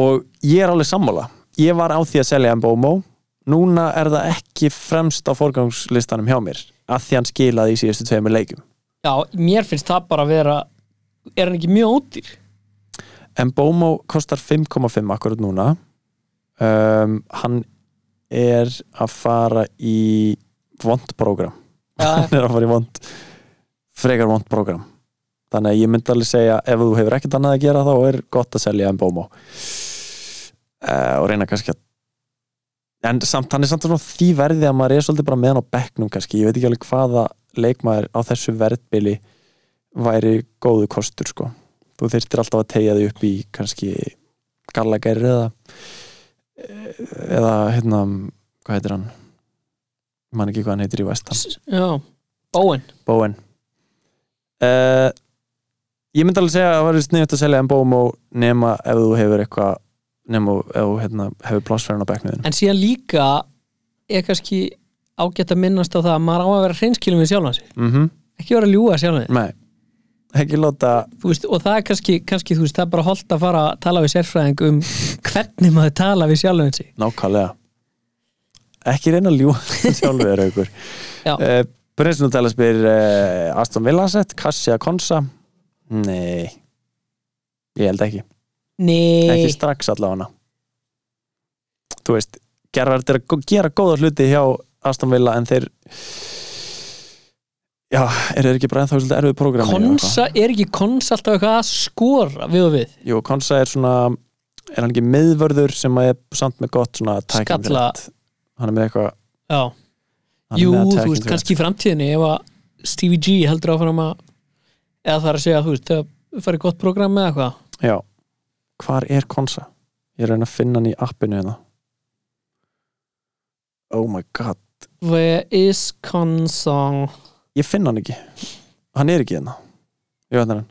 C: og ég er alveg sammála ég var á því að selja Mbomo núna er það ekki fremst á forgangslistanum hjá mér að því hann skilaði í síðustu tveimur leikum
D: já mér finnst það bara að vera er hann ekki mjög ódýr
C: Mbomo kostar 5,5 akkurat núna um, hann er að fara í vond program
D: já,
C: hann er að fara í vond frekar vond program þannig að ég myndi alveg segja ef þú hefur ekkert annað að gera þá er gott að selja Mbomo uh, og reyna kannski að en samt, hann er samt svona því verði að maður er svolítið bara með hann á bekknum kannski ég veit ekki alveg hvaða leikmaður á þessu verðbili væri góðu kostur sko þú þyrftir alltaf að tegja þig upp í kannski Gallagher eða eða hérna hvað heitir hann Ég man ekki hvað hann heitir í vestan
D: já, Bowen
C: Bóen uh, Ég myndi alveg segja að það var sniðut að selja en Bómo nema ef þú hefur eitthvað nema ef þú hérna, hefur plássferðin á bekknuðinu
D: en síðan líka er kannski ágætt að minnast á það að maður á að vera hreinskilum við sjálfan sig
C: mm -hmm.
D: ekki vera að ljúga sjálfan sig
C: Nei, ekki láta
D: Þú veist, og það er kannski, kannski þú veist, það er bara holdt að fara að tala við sérfræðing um hvernig maður tala við sjálfan sig
C: nákvæmlega ekki reyna að ljúa sjálfur aukur
D: Já.
C: uh, Prinsnum tala spyr uh, Aston Villasett, Cassia Konsa Nei Ég held ekki,
D: Nei,
C: ekki strax allavega Þú veist Gerrard er að gó- gera góða hluti hjá Aston Villa en þeir Já, eru þeir ekki bara ennþá svolítið erfið prógrami
D: konsa er ekki konsa alltaf eitthvað að skora við og við
C: Jú, Konsa er svona er hann ekki miðvörður sem að er samt með gott svona tækjum
D: Skalla.
C: Hann er með eitthvað
D: Já,
C: hann er
D: jú,
C: með
D: þú
C: attacking
D: veist,
C: threat.
D: kannski í framtíðinni ef að Stevie G heldur áfram að eða það er að segja, þú veist, það farið gott program með eitthvað
C: Já, hvar er Konsa? Ég er að reyna að finna hann í appinu hérna Oh my god
D: Where is Konsa?
C: Ég finn hann ekki Hann er ekki hérna Jú, hérna er hann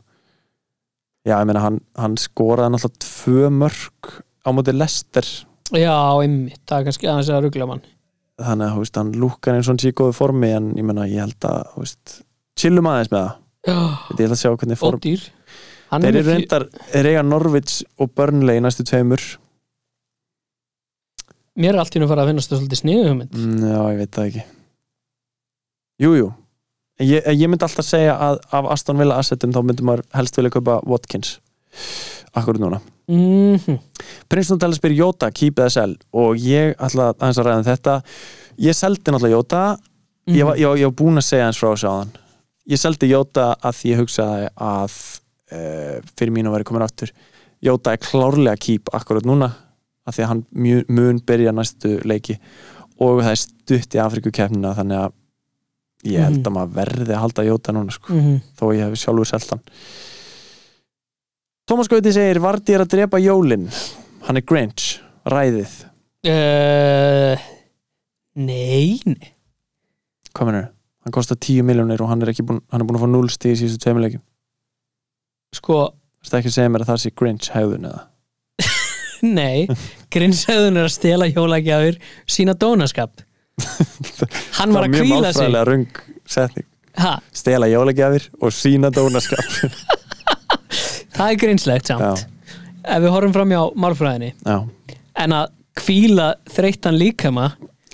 C: Já, ég meina, hann, hann skoraði náttúrulega tvö mörg á móti lester
D: Já, einmitt, það er kannski aðeins að ruggla mann
C: þannig að, þú veist, hann lúkkar eins og hann sé í góðu formi en ég meina, ég held að, þú veist chillum aðeins með það,
D: Já,
C: ég ætla að sjá hvernig form
D: ódýr Hann
C: Þeir
D: er
C: eru
D: fjö-
C: reyndar, þeir eiga Norvits og Burnley í næstu tveimur
D: Mér er allt í nú farið að finnast það svolítið sniðu hugmynd
C: Mm, Já, ég veit það ekki Jújú jú. En ég, en ég myndi alltaf segja að af Aston Villa assetum þá myndi maður helst vilja kaupa Watkins Akkur núna
D: mm -hmm.
C: Prinsnum tala spyr Jóta, keep eða sell og ég ætla aðeins að ræða um þetta Ég seldi náttúrulega Jóta
D: mhm.
C: ég, var, ég, var- ég var búin að segja hans frá þessu áðan Ég seldi Jóta að því ég hugsaði að uh, fyrir mínu væri komin aftur Jóta er klárlega keep akkurat núna að því að hann mjö- mun byrja næstu leiki og það er stutt í Afrikukeppnina þannig að ég held að maður verði að halda Jóta núna sko,
D: Mhm.
C: þó ég hef sjálfur selt hann Tómas Gauti segir Vardi er að drepa Jólin hann er Grinch, ræðið
D: uh, Nei, nei
C: hvað mennur, hann kostar 10 miljónir og hann er, ekki búin, hann er búin að fá 0 stíð í síðustu tveimur leikum
D: sko,
C: Það ekki að segja mér að það sé Grinch hegðun eða
D: nei grinsæðun er að stela hjólagjafir sína dónaskap hann var
C: Það var
D: að
C: mjög
D: kvíla sig
C: málfræðilega röng setning
D: ha,
C: Stela jólagjafir og sína dónaskap
D: það er grinslegt
C: Já,
D: samt ef við horfum fram hjá málfræðinni
C: já
D: en að kvíla þreyttan líkama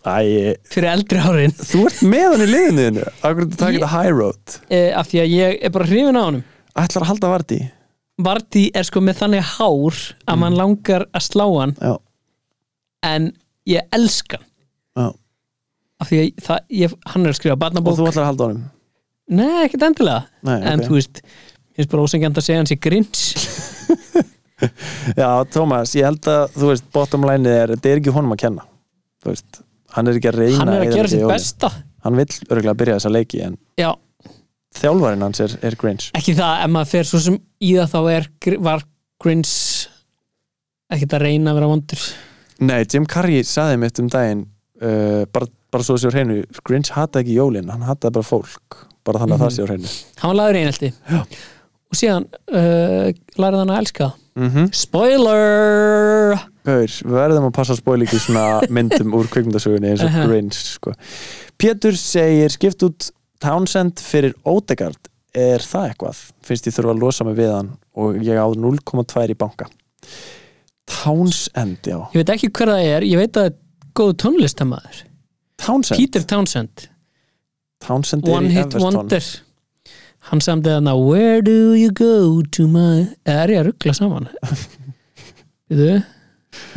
C: Æ,
D: fyrir eldri árin
C: þú ert með hann í liðinu þínu. Akkur þú
D: Ég-
C: takir þetta high road
D: e, af því að ég er bara hrifin á honum
C: Ætlar að halda vart í
D: Vardí er sko með þannig hár að
C: Mm.
D: mann langar að slá hann
C: Já,
D: en ég elska hann
C: já
D: af því að það, ég, hann er að skrifa
C: Og
D: barnabók
C: þú ætlar að halda honum
D: Nei, ekkert endilega
C: Nei,
D: en
C: ok.
D: þú veist, ég finnst bara ósengjant að segja hans í grins
C: Já, Tómas, ég held að, þú veist, bottom line er Þetta er ekki honum að kenna Þú veist, hann er ekki að reyna
D: hann er að
C: eyðileggja
D: gera sitt
C: jólin.
D: besta
C: Hann vill örgulega byrja þessa leiki En
D: Já,
C: þjálfarinn hans er, er Grinch
D: ekki það, ef maður fer svo sem í það þá er, var grins ekkert að reyna að vera vondur
C: Nei, Jim Carrey saði mitt um daginn uh, bara, bara svo þessi á hreinu Grinch hataði ekki jólin, hann hataði bara fólk bara þannig að það sé á hreinu
D: hann var laður einhelti
C: Já.
D: og síðan uh, lærið hann að elska það.
C: mm
D: Spoiler
C: Hör, við verðum að passa að spóla ekki svona myndum úr kvikmyndasögunni eins og
D: Aha.
C: Grinch sko. Pétur segir skipt út Townsend fyrir Odegaard er það eitthvað? Finnst ég þurfa að losa mig við hann og ég á 0,2 í banka Townsend, já
D: Ég veit ekki hver það er, ég veit að það er góð tónlistamæður
C: Townsend,
D: Peter Townsend,
C: Townsend er
D: One
C: í
D: Hit
C: Everton
D: Wonder Hann samdi þarna Where do you go to my Er ég að ruggla saman? Veitu?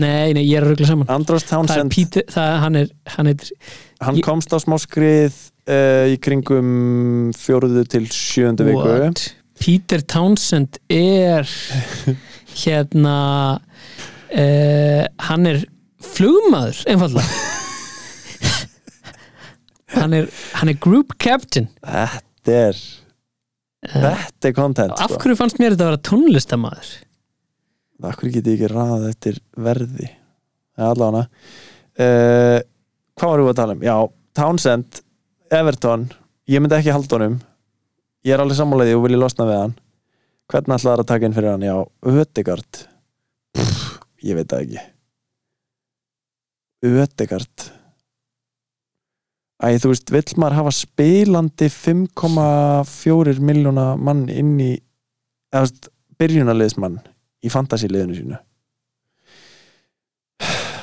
D: Nei, nei, ég er að ruggla saman
C: Andros
D: Það er
C: Townsend
D: Peter, það er, hann er, hann er
C: hann
D: Ég-
C: komst á smá skrið uh, í kringum fjóruðu til sjöndu viku
D: What? Peter Townsend er hérna uh, hann er flugmaður, einfallega hann er, hann er group captain
C: þetta er þetta er content
D: Eh. af
C: sko.
D: hverju fannst mér þetta að vera tónlistamaður
C: af hverju geti ég ekki raðað eftir verði ja, allavega uh, hvað varum við að tala um já, Townsend, Everton ég myndi ekki halda honum ég er alveg sammálaðið og vilja losna við hann hvernig ætlaðar að taka inn fyrir hann já, Ödegard ég veit það ekki Ödegard Æ, þú veist, vill maður hafa spilandi 5,4 milljóna mann inn í eða, þú veist, byrjunarliðsmann í fantasíliðinu sínu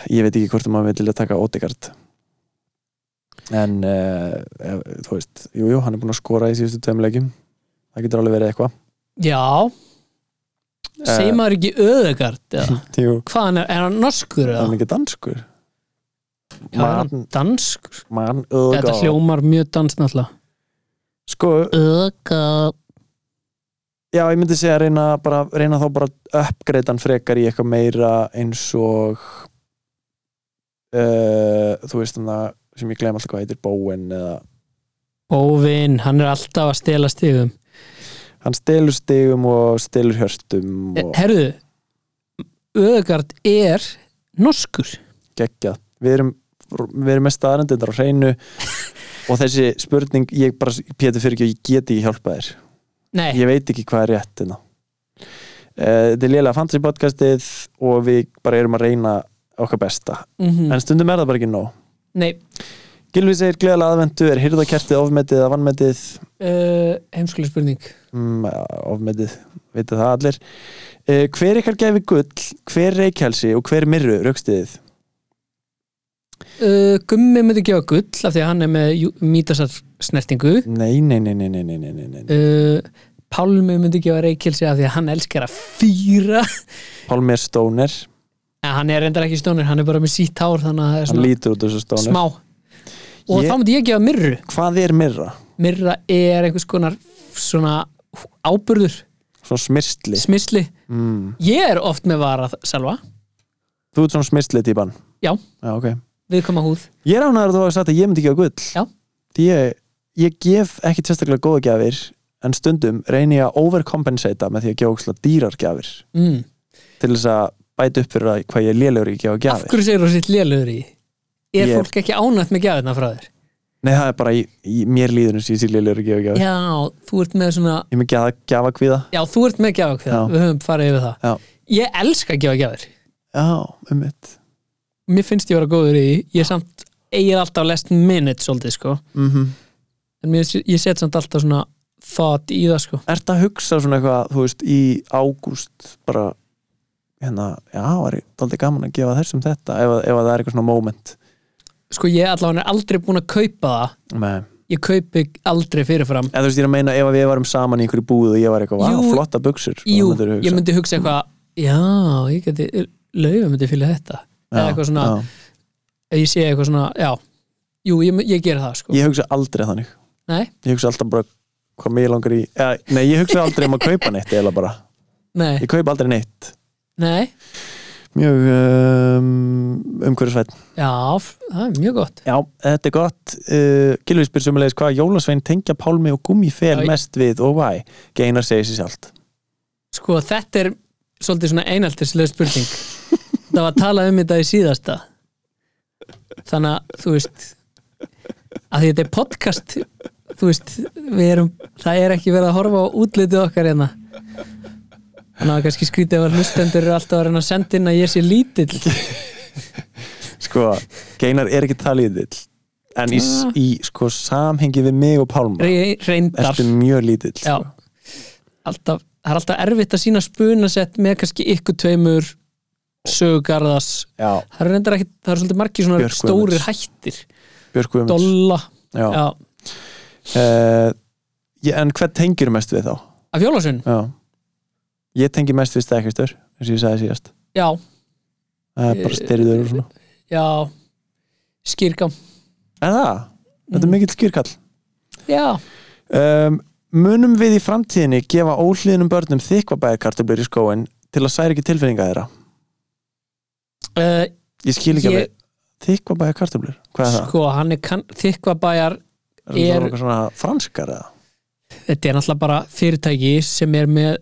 C: ég veit ekki hvort að maður vilja taka Odegaard en uh, þú veist, jújú, jú, hann er búin að skora í síðustu tveimleikjum það getur alveg verið eitthvað
D: já,
C: Eh.
D: segir maður ekki öðegard eða
C: Jú,
D: hvað hann er, er hann norskur
C: hann
D: eða
C: er ekki danskur
D: já, er hann danskur
C: mann
D: þetta
C: Ödegaard
D: hljómar mjög dans náttúrulega
C: oh sko,
D: öðegard
C: já, ég myndi segja að reyna, bara, reyna þá bara að uppgreita hann frekar í eitthvað meira eins og uh, þú veist þannig að sem ég glem alltaf hvað heitir Bowen eða
D: óvinn, hann er alltaf að stela stigum
C: hann stelur stigum og stelur hjörtum og
D: herruðu öðegard er norskur
C: geggjað við erum, við erum með staðarendindar á hreinu og þessi spurning ég bara, Pétur fyrir ekki, ég get ekki hjálpa þér
D: nei,
C: ég veit ekki hvað er rétt hérna. Eh, þetta er lélega fantasy podcastið og við bara erum að reyna okkar besta,
D: mhm,
C: en stundum er það bara ekki nóg
D: nei
C: Gilvi segir gleðalega aðventu, er hyrðakertið ofmetið eða vannmetið
D: uh, heimskuleg spurning
C: mm, ofmetið, vita það allir eh, hver ykkar gefi gull hver reykjalsi og hver mirru raukstiðið
D: uh, Gummi myndi gefa gull af því að hann er með mítasar snertingu
C: nei, nei, nei, nei, nei, nei, nei, nei, nei.
D: uh, Pálmi myndi gefa reykjelsi af því að hann elskar að fýra
C: Pálmi er stóner
D: en hann er reyndar ekki stónir, hann er bara með sítt hár þannig að það er
C: hann
D: svona
C: lítur út þessu stónu
D: smá og
C: Ég-
D: þá myndi ég gefa myrru
C: hvað er mirra?
D: myrra er einhvers konar svona áburður,
C: svona smyrsli
D: smisli
C: mm.
D: ég er oft með vara selva
C: þú ert svona smyrsli típan
D: Já.
C: Já, ok.
D: viðkoma húð
C: ég er ánæður að þú hafa sagt að ég myndi ekki á gull
D: Já.
C: því ég, ég gef ekki sérstaklega góða gjafir en stundum reyni ég að overcompensata með því að gefa ókslega dýrar gjafir
D: mm.
C: til þess að bæta upp fyrir að hvað ég er lélegur í að gefa
D: af
C: gjafir
D: hverju segir þú sitt lélugur í því? er
C: Ég-
D: fólk ekki ánætt með gjafirna frá þér
C: Nei, það er bara í, í mér líður eins og ég sé lélegur að gefa gjafa
D: já, þú ert með svona
C: Ég er með gjafa, gjafa kvíða
D: já, þú ert með gjafakveða,
C: Já.
D: við höfum farið yfir það
C: Já,
D: ég elska að gefa gjafir
C: já, um mitt
D: mér finnst ég vera góður í, því. ég samt eigir alltaf last minute svolítið sko
C: mm
D: en mér, ég set samt alltaf svona thought í það sko
C: Ertu að hugsa svona eitthvað, þú veist, í ágúst bara hérna, já, var ég daldið gaman að gefa þessum þetta ef, að- ef að það er eitthvað svona moment
D: sko ég allavega er aldrei búin að kaupa það
C: Nei,
D: ég kaupi aldrei fyrirfram
C: en þú veist, ég er að meina ef að við varum saman í einhverju búð og ég var eitthvað,
D: Jú.
C: vá, flotta buksur
D: jú, ég myndi hugsa eitthvað já, ég geti, laufi myndi fylgja þetta eða eitthvað svona,
C: já.
D: ef ég sé eitthvað svona já, jú, ég, mun- ég gera það sko
C: Ég hugsa aldrei þannig
D: nei,
C: Ég hugsa alltaf bara hvað mér langar í eða, Nei, ég hugsa aldrei um að kaupa neitt eða bara
D: nei,
C: Ég kaupa aldrei neitt
D: nei
C: Mjög um, umhverfisvætt
D: já, f- það er mjög gott
C: Já, þetta er gott uh, Gilvi spyr sömulegis hvað jólasvein tengja pálmi og gummi fel
D: Já, ég-
C: mest við og væ Geinar segir sér sjálft
D: sko þetta er svolítið svona einaltislega spurning það var talað um þetta í síðasta þannig að þú veist að því þetta er podcast þú veist, við erum það er ekki verið að horfa á útlitið okkar hérna þannig að það er kannski skrítið að vera hlustendur eru alltaf að reyna að senda inn að ég sé lítill
C: Sko, Geinar er ekki talíðill En í,
D: Ah.
C: s- í sko, samhengi við mig og pálma
D: Re- reyndar
C: Ertu mjög lítill
D: Já.
C: sko.
D: alltaf, það er alltaf erfitt að sína spunasett með kannski ykkur tveimur sögugarðas
C: Já,
D: það er reyndar ekki, það er svolítið margir svona
C: Björk Guðmunds.
D: stórir hættir
C: Björk Guðmunds
D: dolla,
C: Já.
D: já,
C: Uh, ég- En hvað tengir mest við þá?
D: af Jólasvein
C: Já Ég tengi mest við stækistur eins og ég sagði síðast
D: já,
C: Það er bara
D: Eh,
C: styrirður og svona
D: já skýrgam,
C: En það,
D: Mm.
C: þetta er mikill skýrkall
D: já,
C: um, Munum við í framtíðinni gefa óhlýðnum börnum þykvabæðarkartöblur í skóin til að særa ekki tilfinninga þeirra
D: uh,
C: Ég skil ekki
D: Ég-
C: alveg Þykvabæðarkartöblur, hvað er það?
D: sko hann er kann, þykkvabæjar,
C: Er það
D: er-
C: eitthvað svona franskar eða?
D: þetta er náttúrulega bara fyrirtæki sem er með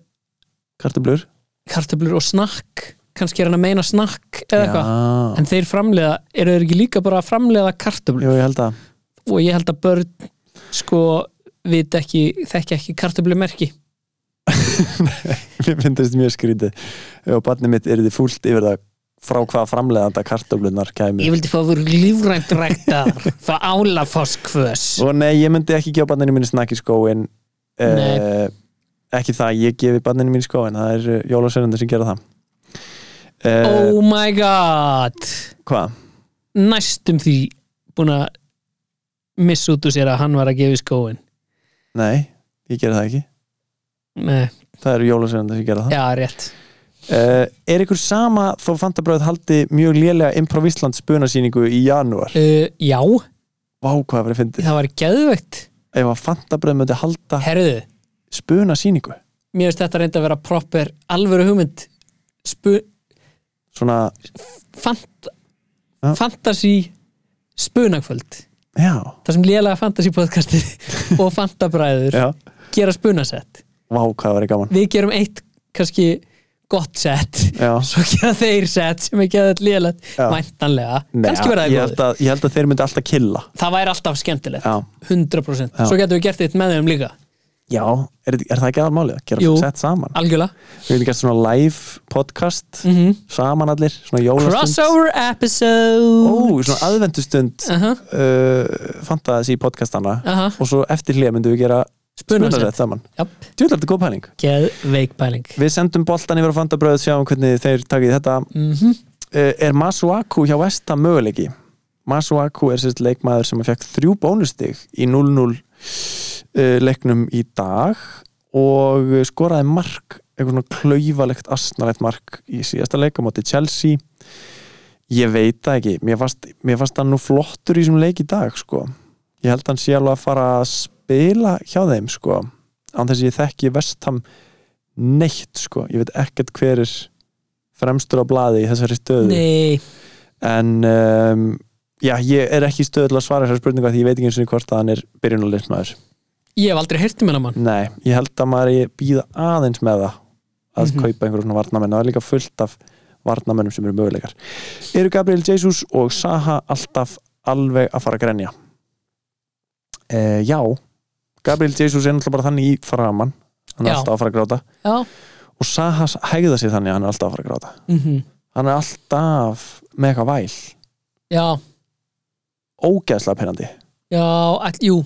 C: Kartöblur?
D: kartöflur og snakk kannski er hann að meina snakk eða eitthvað
C: Já,
D: en þeir framleiða, eru þeir ekki líka bara að framleiða kartöflur
C: jú ég held að
D: og ég held að börn sko vit ekki, þekki ekki kartöflumerki
C: Mér finnst mjög skrítið og barnið mitt er þið fúlt yfir það frá hvað framleiðanda kartöblunar kæmi
D: ég vildi fá að voru lífrænt ræktar frá álafoss kvös
C: og nei, ég myndi ekki gefa banninu mínu snakk í skóin uh,
D: Nei.
C: ekki það, ég gefi banninu mínu í skóin það er jólasverðandi sem gera það uh,
D: oh my god
C: hvað?
D: næstum því búin að missa út úr sér að hann var að gefa í skóin
C: Nei, ég gera það ekki
D: Nei,
C: það eru jólasverðandi sem gera það
D: já, rétt
C: uh, er ykkur sama þó fantabröð haldi mjög lélega Improv Ísland spunasýningu í janúar
D: uh, Já,
C: vá hvað það verið fyndið
D: það var geðveikt
C: ef að fantabröð myndi halda
D: Herðu,
C: spunasýningu
D: mér finnst þetta reyndi að vera proper alvöru hugmynd Spu,
C: svona,
D: fant,
C: Já.
D: Fantasí Spunakvöld
C: já,
D: Það sem lélega fantasí podcastið og fantabræður
C: já
D: gera spunasett
C: vá hvað það verið gaman
D: Við gerum eitt kannski gott sett
C: já
D: Svo gera þeir sett sem er geðað lélegt
C: Já.
D: Væntanlega,
C: Nei,
D: kannski verða
C: ég,
D: það
C: held
D: góð
C: að, ég held að þeir myndi alltaf killa
D: Það væri alltaf skemmtilegt
C: já
D: 100%
C: Já.
D: Svo getum við gert eitt með þeim líka
C: Já, er, er það ekki aðalmálið að gera
D: Jú.
C: sett saman?
D: Algjörlega
C: Við getum gert svona live podcast
D: Mhm.
C: saman allir, svona jólastund
D: Crossover episode
C: Ó, svona aðvendustund uh,
D: Aha,
C: fantasy podcastana
D: aha,
C: og svo eftir hlið myndum við gera spunarsett
D: spunarsett
C: saman
D: Japp,
C: Djúlega þetta er góð pæling
D: geð veik pæling
C: Við sendum boltan yfir á fandabröð sjáum hvernig þeir takið þetta
D: mm
C: uh, Er Masuaku hjá Vesta möguleiki? Masuaku er sérst leikmaður sem fekk þrjú bónustig í 0-0 uh, leiknum í dag og eh, skoraði mark eitthvað svona klaufalegt asnalegt mark í síðasta leik á móti Chelsea ég veit það ekki mér fannst, mér fannst hann nú flottur í þessum leik í dag sko. ég held hann sé alveg að fara að spila hjá þeim sko. án þess að ég þekki vestam neitt sko. ég veit ekkert hver er fremstur á blaði í þessari stöðu
D: Nei,
C: en um, já, ég er ekki í stöðu til að svara þessari spurningu af því ég veit ekki eins og hvort að hann er byrjunulegsmaður
D: ég hef aldrei heyrt um hennar mann
C: Nei, ég held að maður er býða aðeins með það að
D: Mhm.
C: kaupa einhverjum svona varnamenn og það er líka fullt af varnamennum sem eru möguleikar Eru Gabriel Jesus og Saha alltaf alveg að fara að grenja? eh, já Gabriel Jesus er náttúrulega bara þannig í framann hann er
D: Já.
C: alltaf að fara að gráta
D: já,
C: og Saha hægða sér þannig að hann er alltaf að fara að gráta
D: mhm,
C: hann er alltaf með eitthvað væl
D: já
C: ógeðslega penandi
D: já, all, jú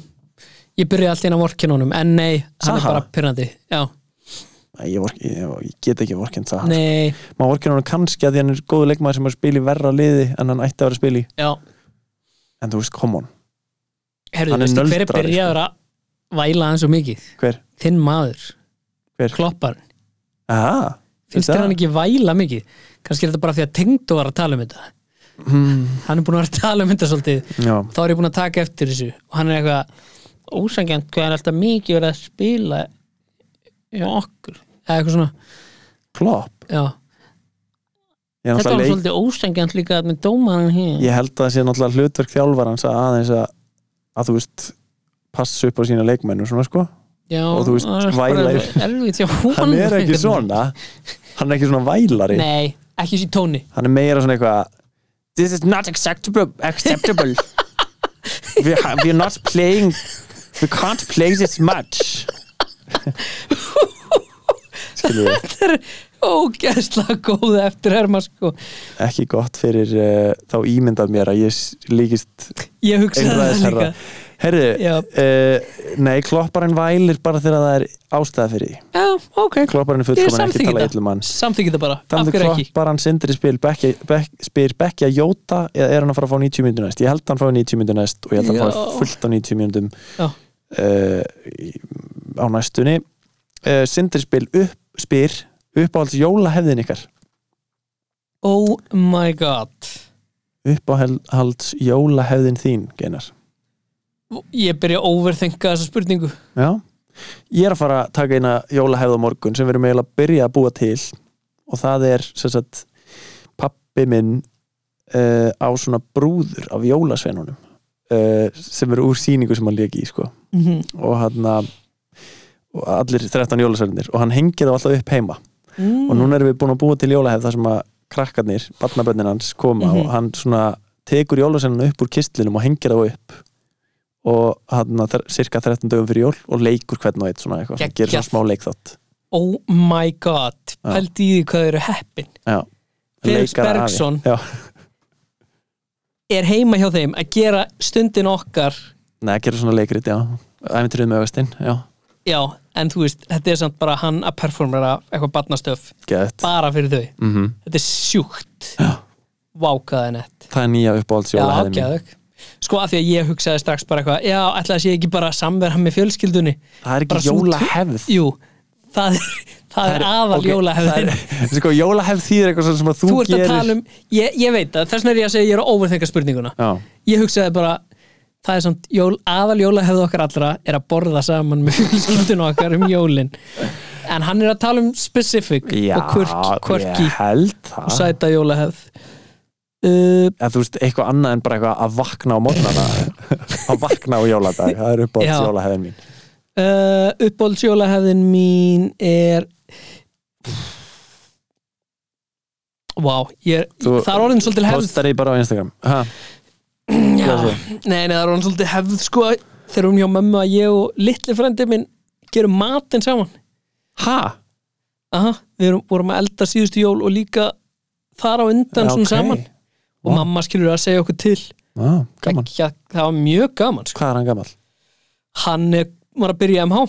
D: ég byrjaði alltaf inn á vorkinunum, en nei hann
C: Saha?
D: er bara pyrrandi, já,
C: ég, vor, ég, ég get ekki vorkend Saha sko.
D: nei
C: maður vorkend hann kannski að því hann er góðu leikmaður sem er að spila í verra liði en hann ætti að vera að spila í
D: já,
C: en þú veist, come on,
D: herðu,
C: Hann er
D: veistu
C: sko.
D: hver er
C: nöldrari,
D: byrjaður að væla hann svo mikið,
C: hver?
D: þinn maður
C: Hver?
D: kloppar,
C: Aha,
D: finnst
C: Þetta-
D: þér hann ekki væla mikið kannski er þetta bara því að tengdu var að tala um þetta hann er búin að vera að tala um þetta svolítið
C: Hmm, já,
D: þá er ég búin að taka eftir þessu og hann er eitthvað ósangjant hvað hann er alltaf mikið verið að spila hjá okkur eða eitthvað svona,
C: klopp
D: já
C: ég,
D: þetta var
C: er náttúrulega leik,
D: svolítið ósangjant líka með dómaran hér
C: ég held að það sé náttúrulega hlutverk þjálfarans að aðeins að, að þú veist passa upp á sína leikmenn og svona sko
D: já,
C: og þú veist,
D: það er
C: væla
D: bara
C: yfir-
D: erfitt hjá honum
C: hann er
D: einhvern
C: ekki
D: veginn.
C: svona hann er ekki svona vælari
D: nei, ekki sér tóni
C: hann er meira svona eitthvað this is not acceptable, acceptable. we, ha- we are not playing we can't play this much skilur við
D: þetta er ógeðslega góð eftir herma sko
C: ekki gott fyrir uh, þá ímyndað mér að ég s- líkist
D: ég hugsaði það
C: einræðisherra
D: líka
C: herri,
D: Já.
C: uh, nei klopparinn vælir bara þegar það er ástæða fyrir því
D: já, ok,
C: klopparinn
D: ég
C: er fullkomin ekki
D: samþykki
C: tala yllum
D: þetta
C: manns
D: samþykki þetta bara, af
C: Þannig
D: hverju ekki
C: klopparinn sindri spil bekki, bek, spyr Bekki að jóta eða er hann að fara að fá 90 minnum næst ég held að hann fá 90 minnum næst og ég held að hann
D: Já.
C: fá fullt á 90 minnum
D: Já.
C: uh, á næstunni uh, sindri spil upp, spyr uppáhalds jólahefðin ykkar
D: oh my god
C: uppáhalds jólahefðin þín Geinar
D: ég byrja að overthinka þessa spurningu
C: Já, ég er að fara að taka eina jólahefð á morgun sem við erum eiginlega að byrja að búa til og það er sem sagt pappi minn uh, á svona brúður af jólasveinunum uh, sem eru úr sýningu sem hann lék í sko.
D: Mhm.
C: og hann að og allir 13 jólasveinunir og hann hengið þá alltaf upp heima
D: mm.
C: og núna erum við búin að búa til jólahefð þar sem að krakkarnir, barnabönnin hans koma
D: Mhm.
C: og hann svona tekur jólasveinunum upp úr kistlinum og hengir þá upp og hann að cirka 13 dögum fyrir jól og leikur hvern og eitt svona eitthvað, svona, gerir svona
D: Geggjað.
C: smá leikþátt
D: oh my god
C: Já.
D: pældi í því hvað þau eru heppin
C: Já.
D: Felix
C: Leikar afi.
D: Bergsson.
C: Já.
D: er heima hjá þeim að gera stundin okkar
C: Nei, gerir svona leikrit, já Æventrið með augastinn, já,
D: já, en þú veist, þetta er samt bara hann að performera eitthvað barnastöf
C: geðt
D: bara fyrir þau,
C: mm
D: þetta er sjúkt
C: Já.
D: vákaði nett
C: Það er nýja uppáhalds
D: já,
C: jólahefði mín
D: ágæðug sko að því að ég hugsaði strax bara eitthvað já, ætlaði að sé ekki bara samverða með fjölskyldunni
C: Það er
D: Bara
C: ekki
D: svona
C: jólahefð
D: jú, það er, það er aðal
C: ok,
D: okay, jólahefðin
C: það er- Sko, jólahefð þýðir eitthvað svona sem að þú,
D: þú ert
C: gerir
D: að tala um, ég, ég veit það þess vegna er ég að segja, ég er að overþenga spurninguna
C: Já,
D: ég hugsaði bara það er samt, jól, aðal jólahefðu okkar allra er að borða saman með fjölskyldun okkar um jólin en hann er að tala um specific
C: já
D: og quirky, quirky
C: ég held það
D: og sæta jólahefð uh,
C: eða þú veist, eitthvað annað en bara eitthvað að vakna á morgnana að vakna á jóladag, það er uppáhalds
D: Já.
C: jólahefðin mín
D: uh, uppbólds jólahefðin mín er Vá, ég er,
C: Þú-
D: það er orðin svolítið hefð
C: postar ég bara á Instagram ha,
D: Já,
C: Hvað
D: nei, nei, það er hann svolítið hefð sko þegar hún hjá mömmu að ég og litli frendi minn gerum matinn saman
C: ha?
D: Aha, við erum, vorum að elda síðustu jól og líka þar á undan
C: Já,
D: svona
C: ok.
D: saman og
C: Vá.
D: mamma skilur að segja okkur til
C: Á, gaman,
D: Ekki, að- það var mjög gaman sko.
C: hvað er hann gamal?
D: hann er, var að byrja í MH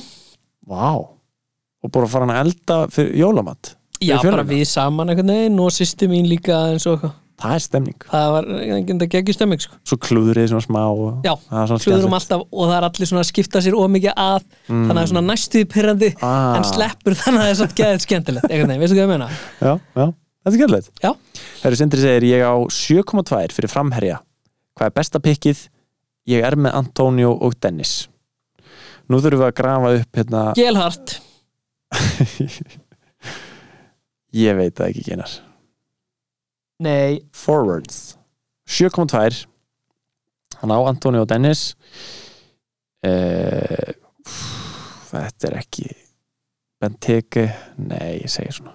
C: Vá, og búin að fara hann að elda fyrir jólamat
D: já,
C: Fyrir
D: bara
C: fjölina?
D: við saman einhvern veginn og sýsti mín líka eins og eitthvað
C: það er stemning,
D: það var einhvern veginn geggjur stemming sko.
C: svo klúðrið svona smá og,
D: já,
C: það er
D: hljóðurum
C: svona skemmtilegt.
D: alltaf og það er allir svona að skipta sér ómikið að þannig að það er svona næstuði pyrrandi
C: Mm. Ah.
D: en sleppur þannig að það er svona geðið skemmtilegt einhvern veginn, veistu hvað ég meina?
C: já, já, þetta er skemmtilegt
D: Já.
C: Herru Sindri segir, ég á 7,2 fyrir framherja. Hvað er besta pikkið? Ég er með Antonio og Dennis. Nú þurfum við að grafa upp hérna,
D: Gelhart
C: ég veit það ekki genar.
D: Nei,
C: Forwards. 7,2. Hann á Antonio og Dennis. Uh, þetta er ekki Benteke. Nei, ég segi svona.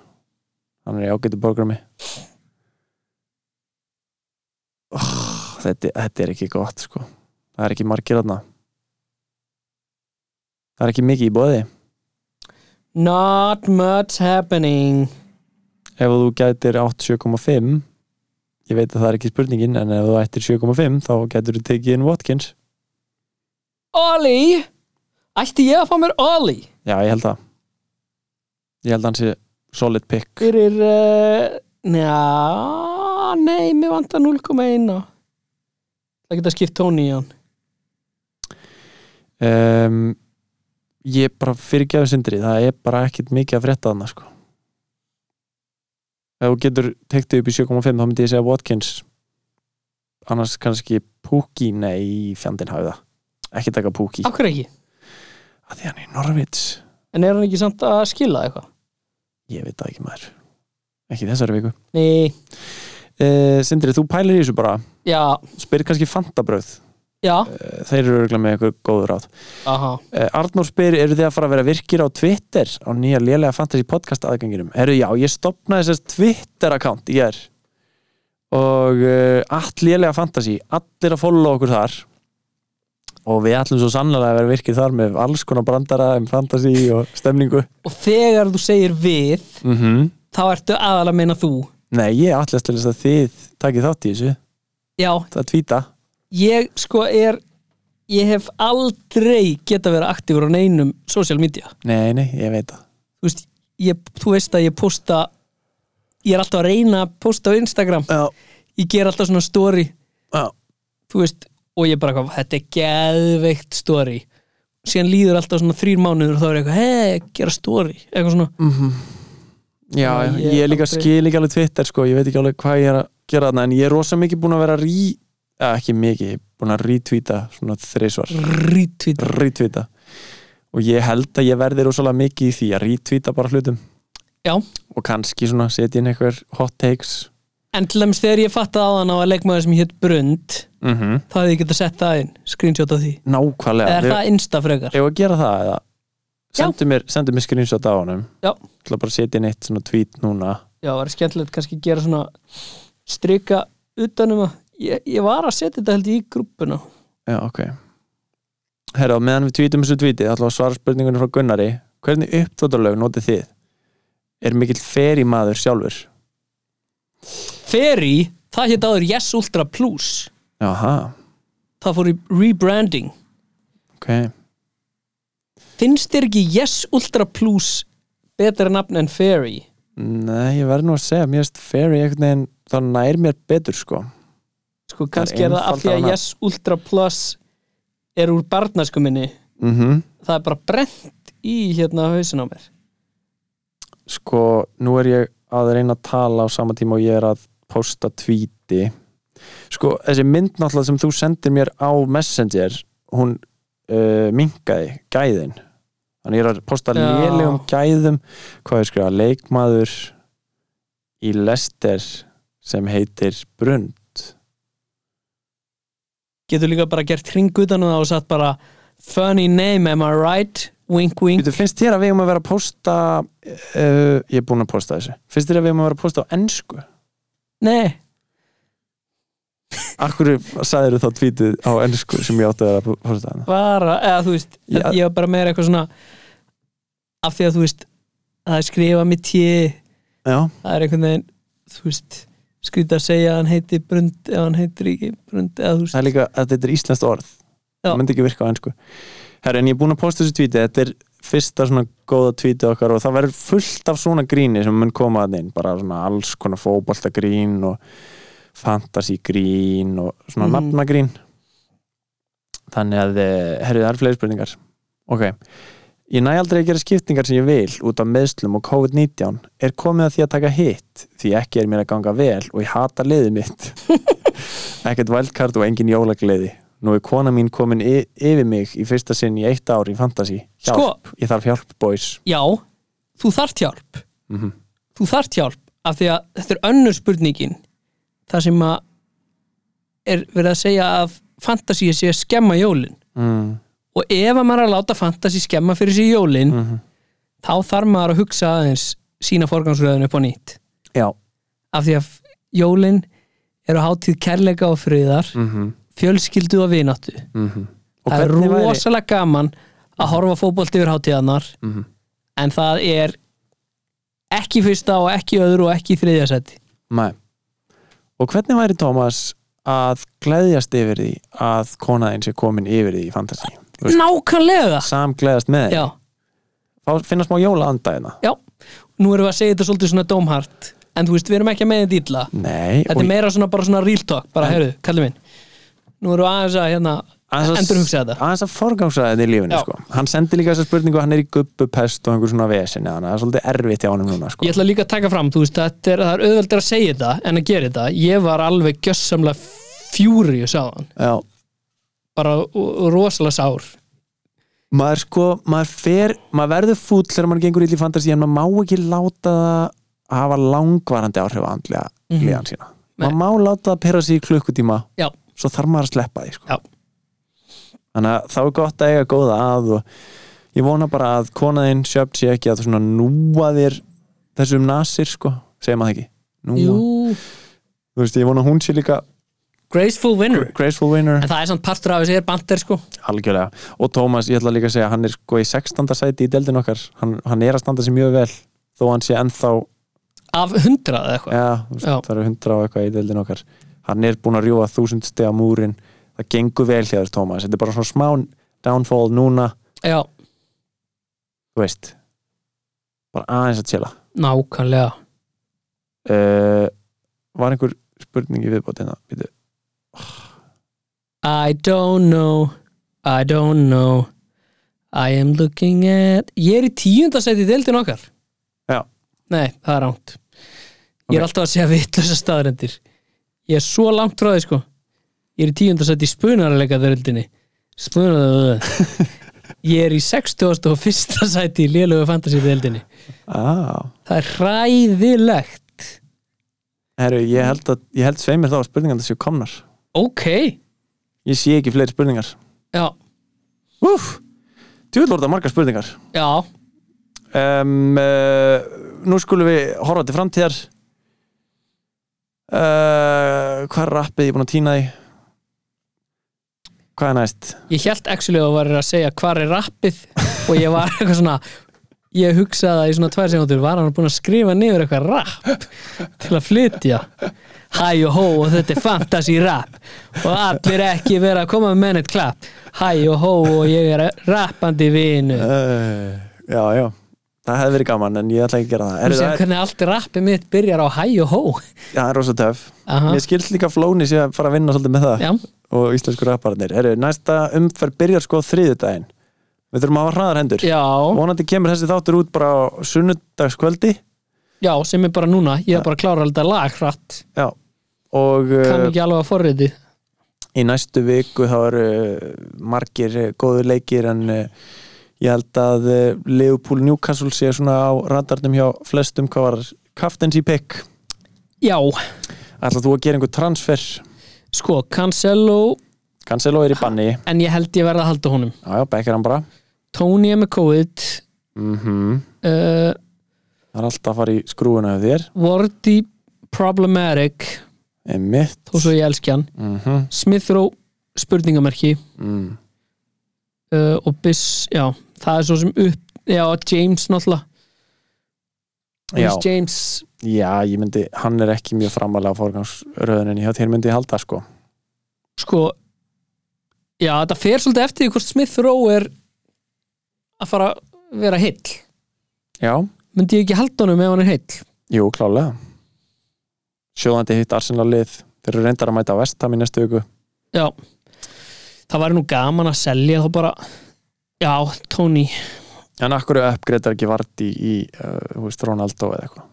C: Hann er í ágætu programmi. Oh, þetta, þetta er ekki gott, sko. Það er ekki margir aðna. Það er ekki mikið í bóði
D: Not much happening
C: Ef þú gætir 8 7,5 Ég veit að það er ekki spurningin En ef þú ættir 7,5 þá gætur þú tekið inn Watkins
D: Ollie Ætti ég að fá mér Ollie
C: Já, ég held það Ég held að hann sé solid pick
D: Fyrir uh, Njá Nei, mér vantar 0,1 á. Það geta skipt tóni í hann
C: um, Ég bara fyrirgjafi sindri Það er bara ekkit mikið að frétta þarna sko. Ef þú getur tektið upp í 7,5 þá myndi ég segja Watkins Annars kannski Pukki Nei, fjandinn hafi það Ekki taka Pukki
D: Akkur ekki
C: Af Því hann er Norvits
D: En er hann ekki samt að skila eitthvað?
C: Ég veit það ekki maður Ekki í þessari viku
D: Nei,
C: uh, Sindri, þú pælir í þessu bara
D: já,
C: Spyr kannski fantabröð
D: já
C: uh, Þeir eru örgulega með eitthvað góður ráð
D: Eh, Aha.
C: uh, Arnór spyr, eru þið að fara að vera virkir á Twitter á nýja lélega fantasy podcast aðganginum Herru, já, ég stopnaði þessast Twitter account í er og uh, allt lélega fantasy allir að follow okkur þar og við ætlum svo sannlega að vera virkir þar með alls konar brandara um fantasy og stemningu
D: Og þegar þú segir við
C: mm
D: Þá ertu aðalega að meina þú
C: Nei, ég ætlast til þess að þið takið þátt í þessu
D: Já,
C: það tvíta
D: ég sko er Ég hef aldrei geta verið aktífur á neinum social media
C: Nei, nei, ég veit það
D: Þú veist, ég, þú veist að ég posta Ég er alltaf að reyna að posta á Instagram
C: Já,
D: Ég ger alltaf svona story
C: já,
D: Þú veist, og ég bara hvað, þetta er geðveikt story Síðan líður alltaf svona þrýr mánuður og þá er ég eitthvað, hei, gera story Eitthvað svona,
C: Mhm. já
D: Já,
C: ég,
D: ég
C: er líka
D: aldrei-
C: skil ekki alveg Twitter sko, ég veit ekki alveg hvað ég er að gera þarna en ég er rosa mikið búin að vera rí eða ekki mikið, ég er búin að rítvíta svona þrisvar,
D: retweet
C: rítvíta og ég held að ég verði rosalega mikið í því að rítvíta bara hlutum
D: Já,
C: og kannski svona setja inn eitthvað hot takes
D: En til dæmis þegar ég fattaði á þann á að leikmaður sem hétt Brund
C: mm
D: þá hefði ég getað sett það inn, screenshot af því
C: Nákvæmlega
D: eða er það insta frekar
C: Ef að gera það eða
D: Já.
C: sendu mér, sendu mér screenshot á honum
D: Já.
C: Ég ætla bara að setja inn eitt svona tweet núna
D: Já, það var skemmtilegt kannski að gera svona strika utanum að ég, ég var að setja þetta held ég í grúppuna
C: Já, ok Herra, á meðan við tvítum þessu tvíti ætlum við að svara spurningunum frá Gunnari Hvernig uppþóttarlög notið þið? Er mikill feri maður sjálfur?
D: Ferry, það hétt áður Yes Ultra Plus
C: Jaha,
D: það fór í rebranding
C: ok
D: finnst þér ekki Yes Ultra Plus betra nafn en Ferry?
C: Nei, ég verð nú að segja, mér finnst feri einhvern veginn það nær mér betur sko
D: Sko kannski er það af því
C: einfaldara
D: að
C: nafn.
D: Yes Ultra Plus er úr barnasku minni
C: mm
D: það er bara brent í hérna hausin á mér
C: Sko, nú er ég að reyna að tala á sama tíma og ég er að posta tvíti Sko, þessi mynd náttúrulega sem þú sendir mér á Messenger hún uh, minkaði gæðin Þannig ég er að posta
D: Já.
C: lélegum gæðum hvað er skrifa, leikmaður í lester sem heitir Brund
D: getur líka bara gert hring utan á það og satt bara funny name, am I right? wink wink
C: Þú finnst þér að við um að vera að posta uh, ég er búinn að posta þessu finnst þér að við um að vera að posta á ensku?
D: nei,
C: Akkur sagðir þá tvítið á ensku sem ég átti að vera að posta hana?
D: bara, eða þú veist
C: Já.
D: ég var bara meira eitthvað svona af því að þú veist það er skrifað mitt ég
C: Já
D: það er einhvern veginn, þú veist skrýta að segja að hann heiti Brund eða hann heitir ekki Brund eða þú
C: það
D: veist
C: er líka að þetta er íslenskt orð
D: Já.
C: það myndi ekki virka á ennsku Herra, en ég er búin að posta þessu tvíti þetta er fyrsta svona góða tvíti okkar og það verður fullt af svona gríni sem mun koma að inn, bara svona alls konar fótboltagrín og fantasygrín og svona
D: Mhm.
C: nafnagrín þannig að eh, herri, það eru fleiri spurningar ok, ég næ aldrei að gera skiptingar sem ég vil út af meðslum og COVID-19 er komið að því að taka hitt því ekki er mér að ganga vel og ég hata liðið mitt ekkert vældkart og engin jólagleði nú er kona mín komin y- yfir mig í fyrsta sinn í eitt ár í fantasy hjálp,
D: Sko.
C: ég þarf hjálp boys
D: já, þú þart hjálp
C: Mhm.
D: þú þart hjálp af því að þetta er önnur spurningin það sem að er verið að segja að fantasíu sé að skemma jólin
C: mm.
D: og ef að maður er að láta fantasi skemma fyrir sig í jólin
C: mhm.
D: þá þarf maður að hugsa aðeins sína forgangsröðun upp á nýtt
C: já,
D: af því að f- jólin eru hátíð kærleika og friðar
C: mm -hmm.
D: fjölskyldu og vináttu
C: Mm -hmm. og
D: það er
C: hvernig væri
D: rosalega gaman að horfa fótbolt yfir hátíðanar
C: Mhm.
D: en það er ekki í fyrsta og ekki í öðru og ekki í þriðja seti
C: Nei. Og hvernig væri Tómas að gleðjast yfir því að konaðin sé komin yfir því í fantasy? Þú veist,
D: Nákvæmlega
C: Samgleðast með því.
D: Já,
C: Þá finna smá jóla anda hérna.
D: já, nú erum við að segja þetta svolítið svona dómhart en þú veist, við erum ekki að meina þetta illa
C: Nei,
D: Þetta er meira svona bara svona real talk bara, heyrðu, kallið minn Nú erum við aðeins að hérna
C: aðeins að-
D: endur hugsa þetta
C: Aðeins að forgangsa þetta í lífinu,
D: Já.
C: sko. Hann sendi líka þessa spurningu, hann er í gubbupest og einhver svona vesin, þannig að það er svolítið erfitt hjá honum núna, sko.
D: Ég ætla líka að taka fram, þú veist, þetta er, það er auðveldur að segja þetta en að gera þetta, ég var alveg gjössamlega furious á hann
C: Já.
D: bara og- og rosalega sár
C: Maður sko, maður fer, maður verður fúll þegar maður gengur illa í fantasy en maður má ekki láta það hafa langvarandi áhrif á andlega mm
D: Mhm.
C: sína.
D: Nei.
C: Maður má láta það perra sig í klukkutíma
D: Já,
C: svo þarf maður að sleppa því sko.
D: já,
C: þannig að þá er gott að eiga góða að og ég vona bara að konaðinn sjöfn sé ekki að þú svona núa þér þessum nasir sko, segir maður það ekki núa,
D: jú
C: þú veist ég vona að hún sé líka
D: Graceful winner
C: graceful winner,
D: En það er samt partur af þessi er bandir sko
C: algjörlega og Tómas, ég ætla líka að segja, hann er sko í 16. sæti í deldin okkar, hann, hann er að standa sig mjög vel þó hann sé ennþá
D: Af hundrað eða eitthvað
C: ja, veist,
D: Já.
C: það eru hundra og eitthvað í deldin okkar hann er búin að rjúa þúsund stega múrin það gengur vel hjá þér Tómas þetta er bara svona smá downfall núna
D: Já,
C: þú veist bara aðeins að chilla
D: nákvæmlega
C: uh, var einhver spurning í viðbót hérna Bíddu.
D: I don't know I don't know I am looking at Ég er í tíundasæti í deildin okkar
C: Já.
D: Nei, það er ránt Ég er
C: Ok.
D: alltaf að segja vitlösa staðrendir Ég er svo langt frá því sko Ég er í tíundasæti í spunarleika deildinni Spunarleika Ég er í 61. sæti í lélögu fantasy deildinni
C: ah.
D: Það er hræðilegt
C: Heru, ég held að ég held sveimir þá að spurningan það séu komnar
D: Ok,
C: ég sé ekki fleiri spurningar
D: já,
C: Úf, djúvel voru það margar spurningar
D: já
C: um, uh, nú skulum við horfa til framtíðar uh, hvað er rappið ég er búin að týna því hvað er næst
D: ég held actually að þú varir að segja hvar er rappið og ég var eitthvað svona ég hugsaði það í svona tvær segundur var hann búin að skrifa niður eitthvað rapp til að flytja hæ og hó og þetta er fantasy rapp og allir ekki vera að koma með neitt klapp hæ og hó og ég er rappandi vinu
C: uh, já, já það hefði verið gaman en ég ætla ekki að gera það
D: Þú
C: Heru,
D: sér
C: það, er,
D: hvernig allt rappið mitt byrjar á hæ og hó
C: já, það er rosa töf
D: Aha,
C: Mér skilst líka að flóni sé að fara að vinna svolítið með það
D: já,
C: og íslensku rappararnir. Herru, næsta umferð byrjar sko á þriðjudaginn. Við þurfum að hafa hraðar hendur.
D: já,
C: Vonandi kemur þessi þáttur út bara á sunnudagskvöldi.
D: já, sem er bara núna ég er bara að klára þetta lag hratt
C: Já. Og
D: kann
C: uh,
D: ekki alveg að forriði
C: í næstu viku þá eru uh, margir uh, góður leikir en uh, ég held að uh, Leopold Newcastle sé svona á radarnum hjá flestum hvað var kaftens í pick.
D: já,
C: Ætlar þú að gera einhver transfer?
D: sko, Cancelo
C: Cancelo er í banni.
D: en ég held ég verða að halda honum
C: Já, já, bekkir hann bara.
D: Tony er með COVID
C: Mhm.
D: uh,
C: Það er alltaf að fara í skrúuna af þér.
D: Wardy problematic
C: Einmitt.
D: þó svo ég elski hann
C: Mm
D: Smithrow spurningamerki
C: mm.
D: uh, og Biss, já, það er svo sem upp já, James náttúrulega
C: Já,
D: Reece James,
C: já, ég myndi, hann er ekki mjög framalega á forgangsröðuninni hjá þér myndi ég halda sko.
D: sko já, þetta fer svolítið eftir því hvort Smithrow er að fara að vera heill
C: Já,
D: myndi ég ekki halda honum ef hann er heill
C: jú, klálega. Sjóðandi hitt Arsenal lið, þeir eru reyndar að mæta á Vestham í næstu viku.
D: já, það væri nú gaman að selja þá bara, já, Tony
C: En akkur uppgreitar ekki vart í, í uh, þú veist, Ronaldo eða eitthvað.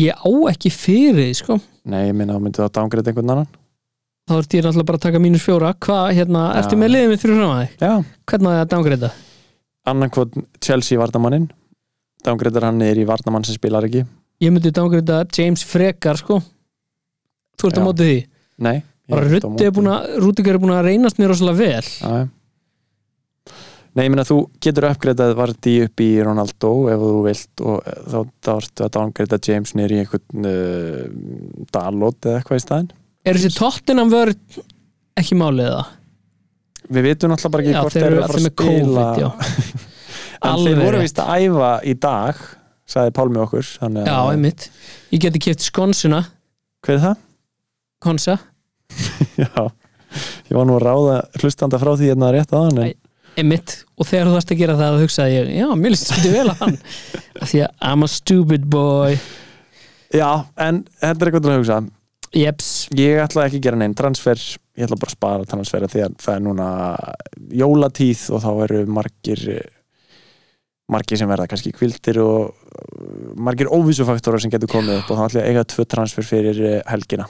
D: ég á ekki fyrir því, sko
C: Nei, ég minna að myndi það dángreita einhvern annan.
D: þá ert ég náttúrulega bara að taka mínus fjóra hvað, hérna,
C: Já.
D: ertu með liðið með þrjú fram að þig?
C: Já,
D: hvernig á ég að dangreita?
C: annarkvot Chelsea vartamanninn. Dángreitar hann er í vartamann sem spilar ekki.
D: ég myndi dangreita James Frekar sko þú ert
C: Já.
D: á móti því
C: Nei.
D: bara Ruddi er búin að, Rúdiger er búin að reynast mér rosalega vel
C: Já. Nei, ég meina þú getur uppgreitað Vardí upp í Ronaldo ef þú vilt og eh, þá, þá ertu að downgreita James nýr í einhvern uh, Dalot eða eitthvað í staðinn
D: er þessi tóttinam vörð ekki málið það?
C: við vitum náttúrulega bara ekki
D: Já,
C: hvort
D: þeir
C: þeir eru
D: eru
C: að fara að
D: allir með
C: spila
D: COVID, já.
C: en
D: Alveg
C: þeir voru
D: rétt.
C: vist að æfa í dag sagði Pálmi okkur þannig
D: Já,
C: að-
D: einmitt Ég geti keft skonsuna,
C: hver er það?
D: konsa
C: Já, ég var nú að ráða hlustanda frá því hérna rétt að hann en...
D: Æ. einmitt og þegar þú þarst að gera það þá hugsaði ég, já, mér líst svolítið vel að hann af því að I'm a stupid boy
C: Já, en þetta er eitthvað til að hugsa
D: jeps,
C: ég ætla ekki að gera neinn transfer ég ætla bara að spara transfera því að það er núna jólatíð og þá eru margir margir sem verða kannski kvildir og uh, margir óvísufaktorar sem getur komið upp og þá ætla ég að eiga tvö transfer fyrir uh, helgina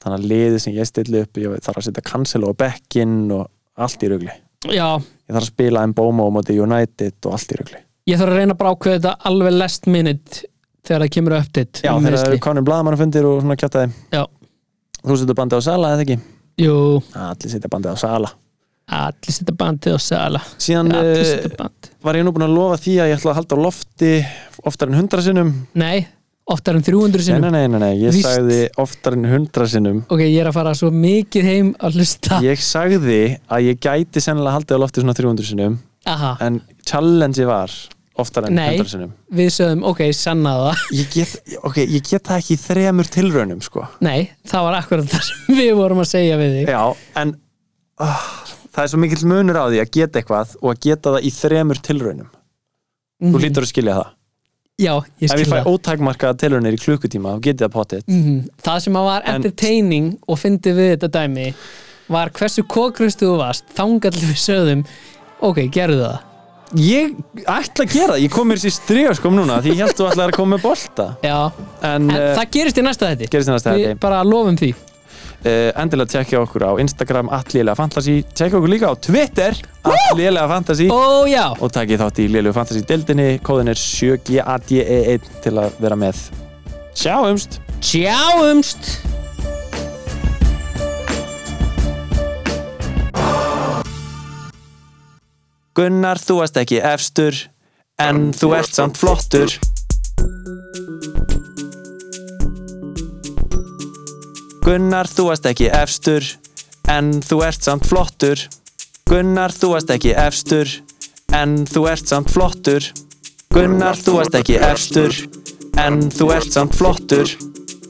C: þannig að liðið sem ég stilli upp ég þarf að setja cancel og bekkinn og allt í rugli
D: já
C: ég þarf að spila en bóma á móti United og allt í rugli
D: ég þarf að reyna að brákveða þetta alveg last minute þegar það kemur update
C: Já,
D: um
C: þegar það
D: meiðsli.
C: eru konum blaðamannafundir og svona kjátaði
D: Já.
C: Þú setur bandið á sala eða ekki?
D: Jú,
C: Allir setja bandið á sala
D: allir setja bandið og sala
C: Síðan
D: allir
C: uh,
D: setja band
C: var ég nú búinn að lofa því að ég ætla að halda á lofti oftar en hundra sinnum
D: nei, oftar en 300
C: Nei,
D: sinnum
C: nei, nei, nei, nei. ég
D: Víst.
C: sagði oftar en hundra sinnum
D: ok, ég er að fara svo mikið heim að hlusta
C: Ég sagði að ég gæti sennilega haldið á lofti svona 300 sinnum
D: aha,
C: En challenge var oftar en
D: Nei.
C: 100 Eh, sinnum
D: við sögum, ok, sanna það
C: ég get, Ok, ég get það ekki í þremur tilraunum sko
D: nei, það var akkurat það sem við vorum að segja við þig
C: Já, en uh, það er svo mikill munur á því að geta eitthvað og að geta það í þremur tilraunum Þú lítur að skilja það
D: já, ég
C: Ef Mhm. ég
D: skil
C: fæ
D: það
C: ótækmarkaða tilraunir í klukkutíma þá getið það potið
D: Mhm. það sem að var
C: En-
D: entertaining og fyndi við þetta dæmi var hversu kokrustu þú varst þangall við sögðum ok, gerðu það
C: Ég ætla að gera það, ég kom mér sér stríðaskom núna því ég held þú ætlaði að koma með bolta
D: já,
C: En,
D: en
C: en
D: það gerist í næsta þetta
C: gerist hérna þennast þetta
D: við bara lofum því
C: uh, Endilega tjekkja okkur á Instagram allilega fantasy Tjekkja okkur líka á Twitter allilega fantasy
D: ó já,
C: Og takkið þátt í Lélegu Fantasy deildinni Kóðin er 7GADE1 E til að vera með Sjáumst!
D: tjáumst
C: Gunnar, þú varst ekki efstur En þú ert samt flottur Gunnar, þú varst ekki efstur En þú ert samt flottur Gunnar, þú varst ekki efstur En þú ert samt flottur Gunnar, þú varst ekki efstur En þú ert samt flottur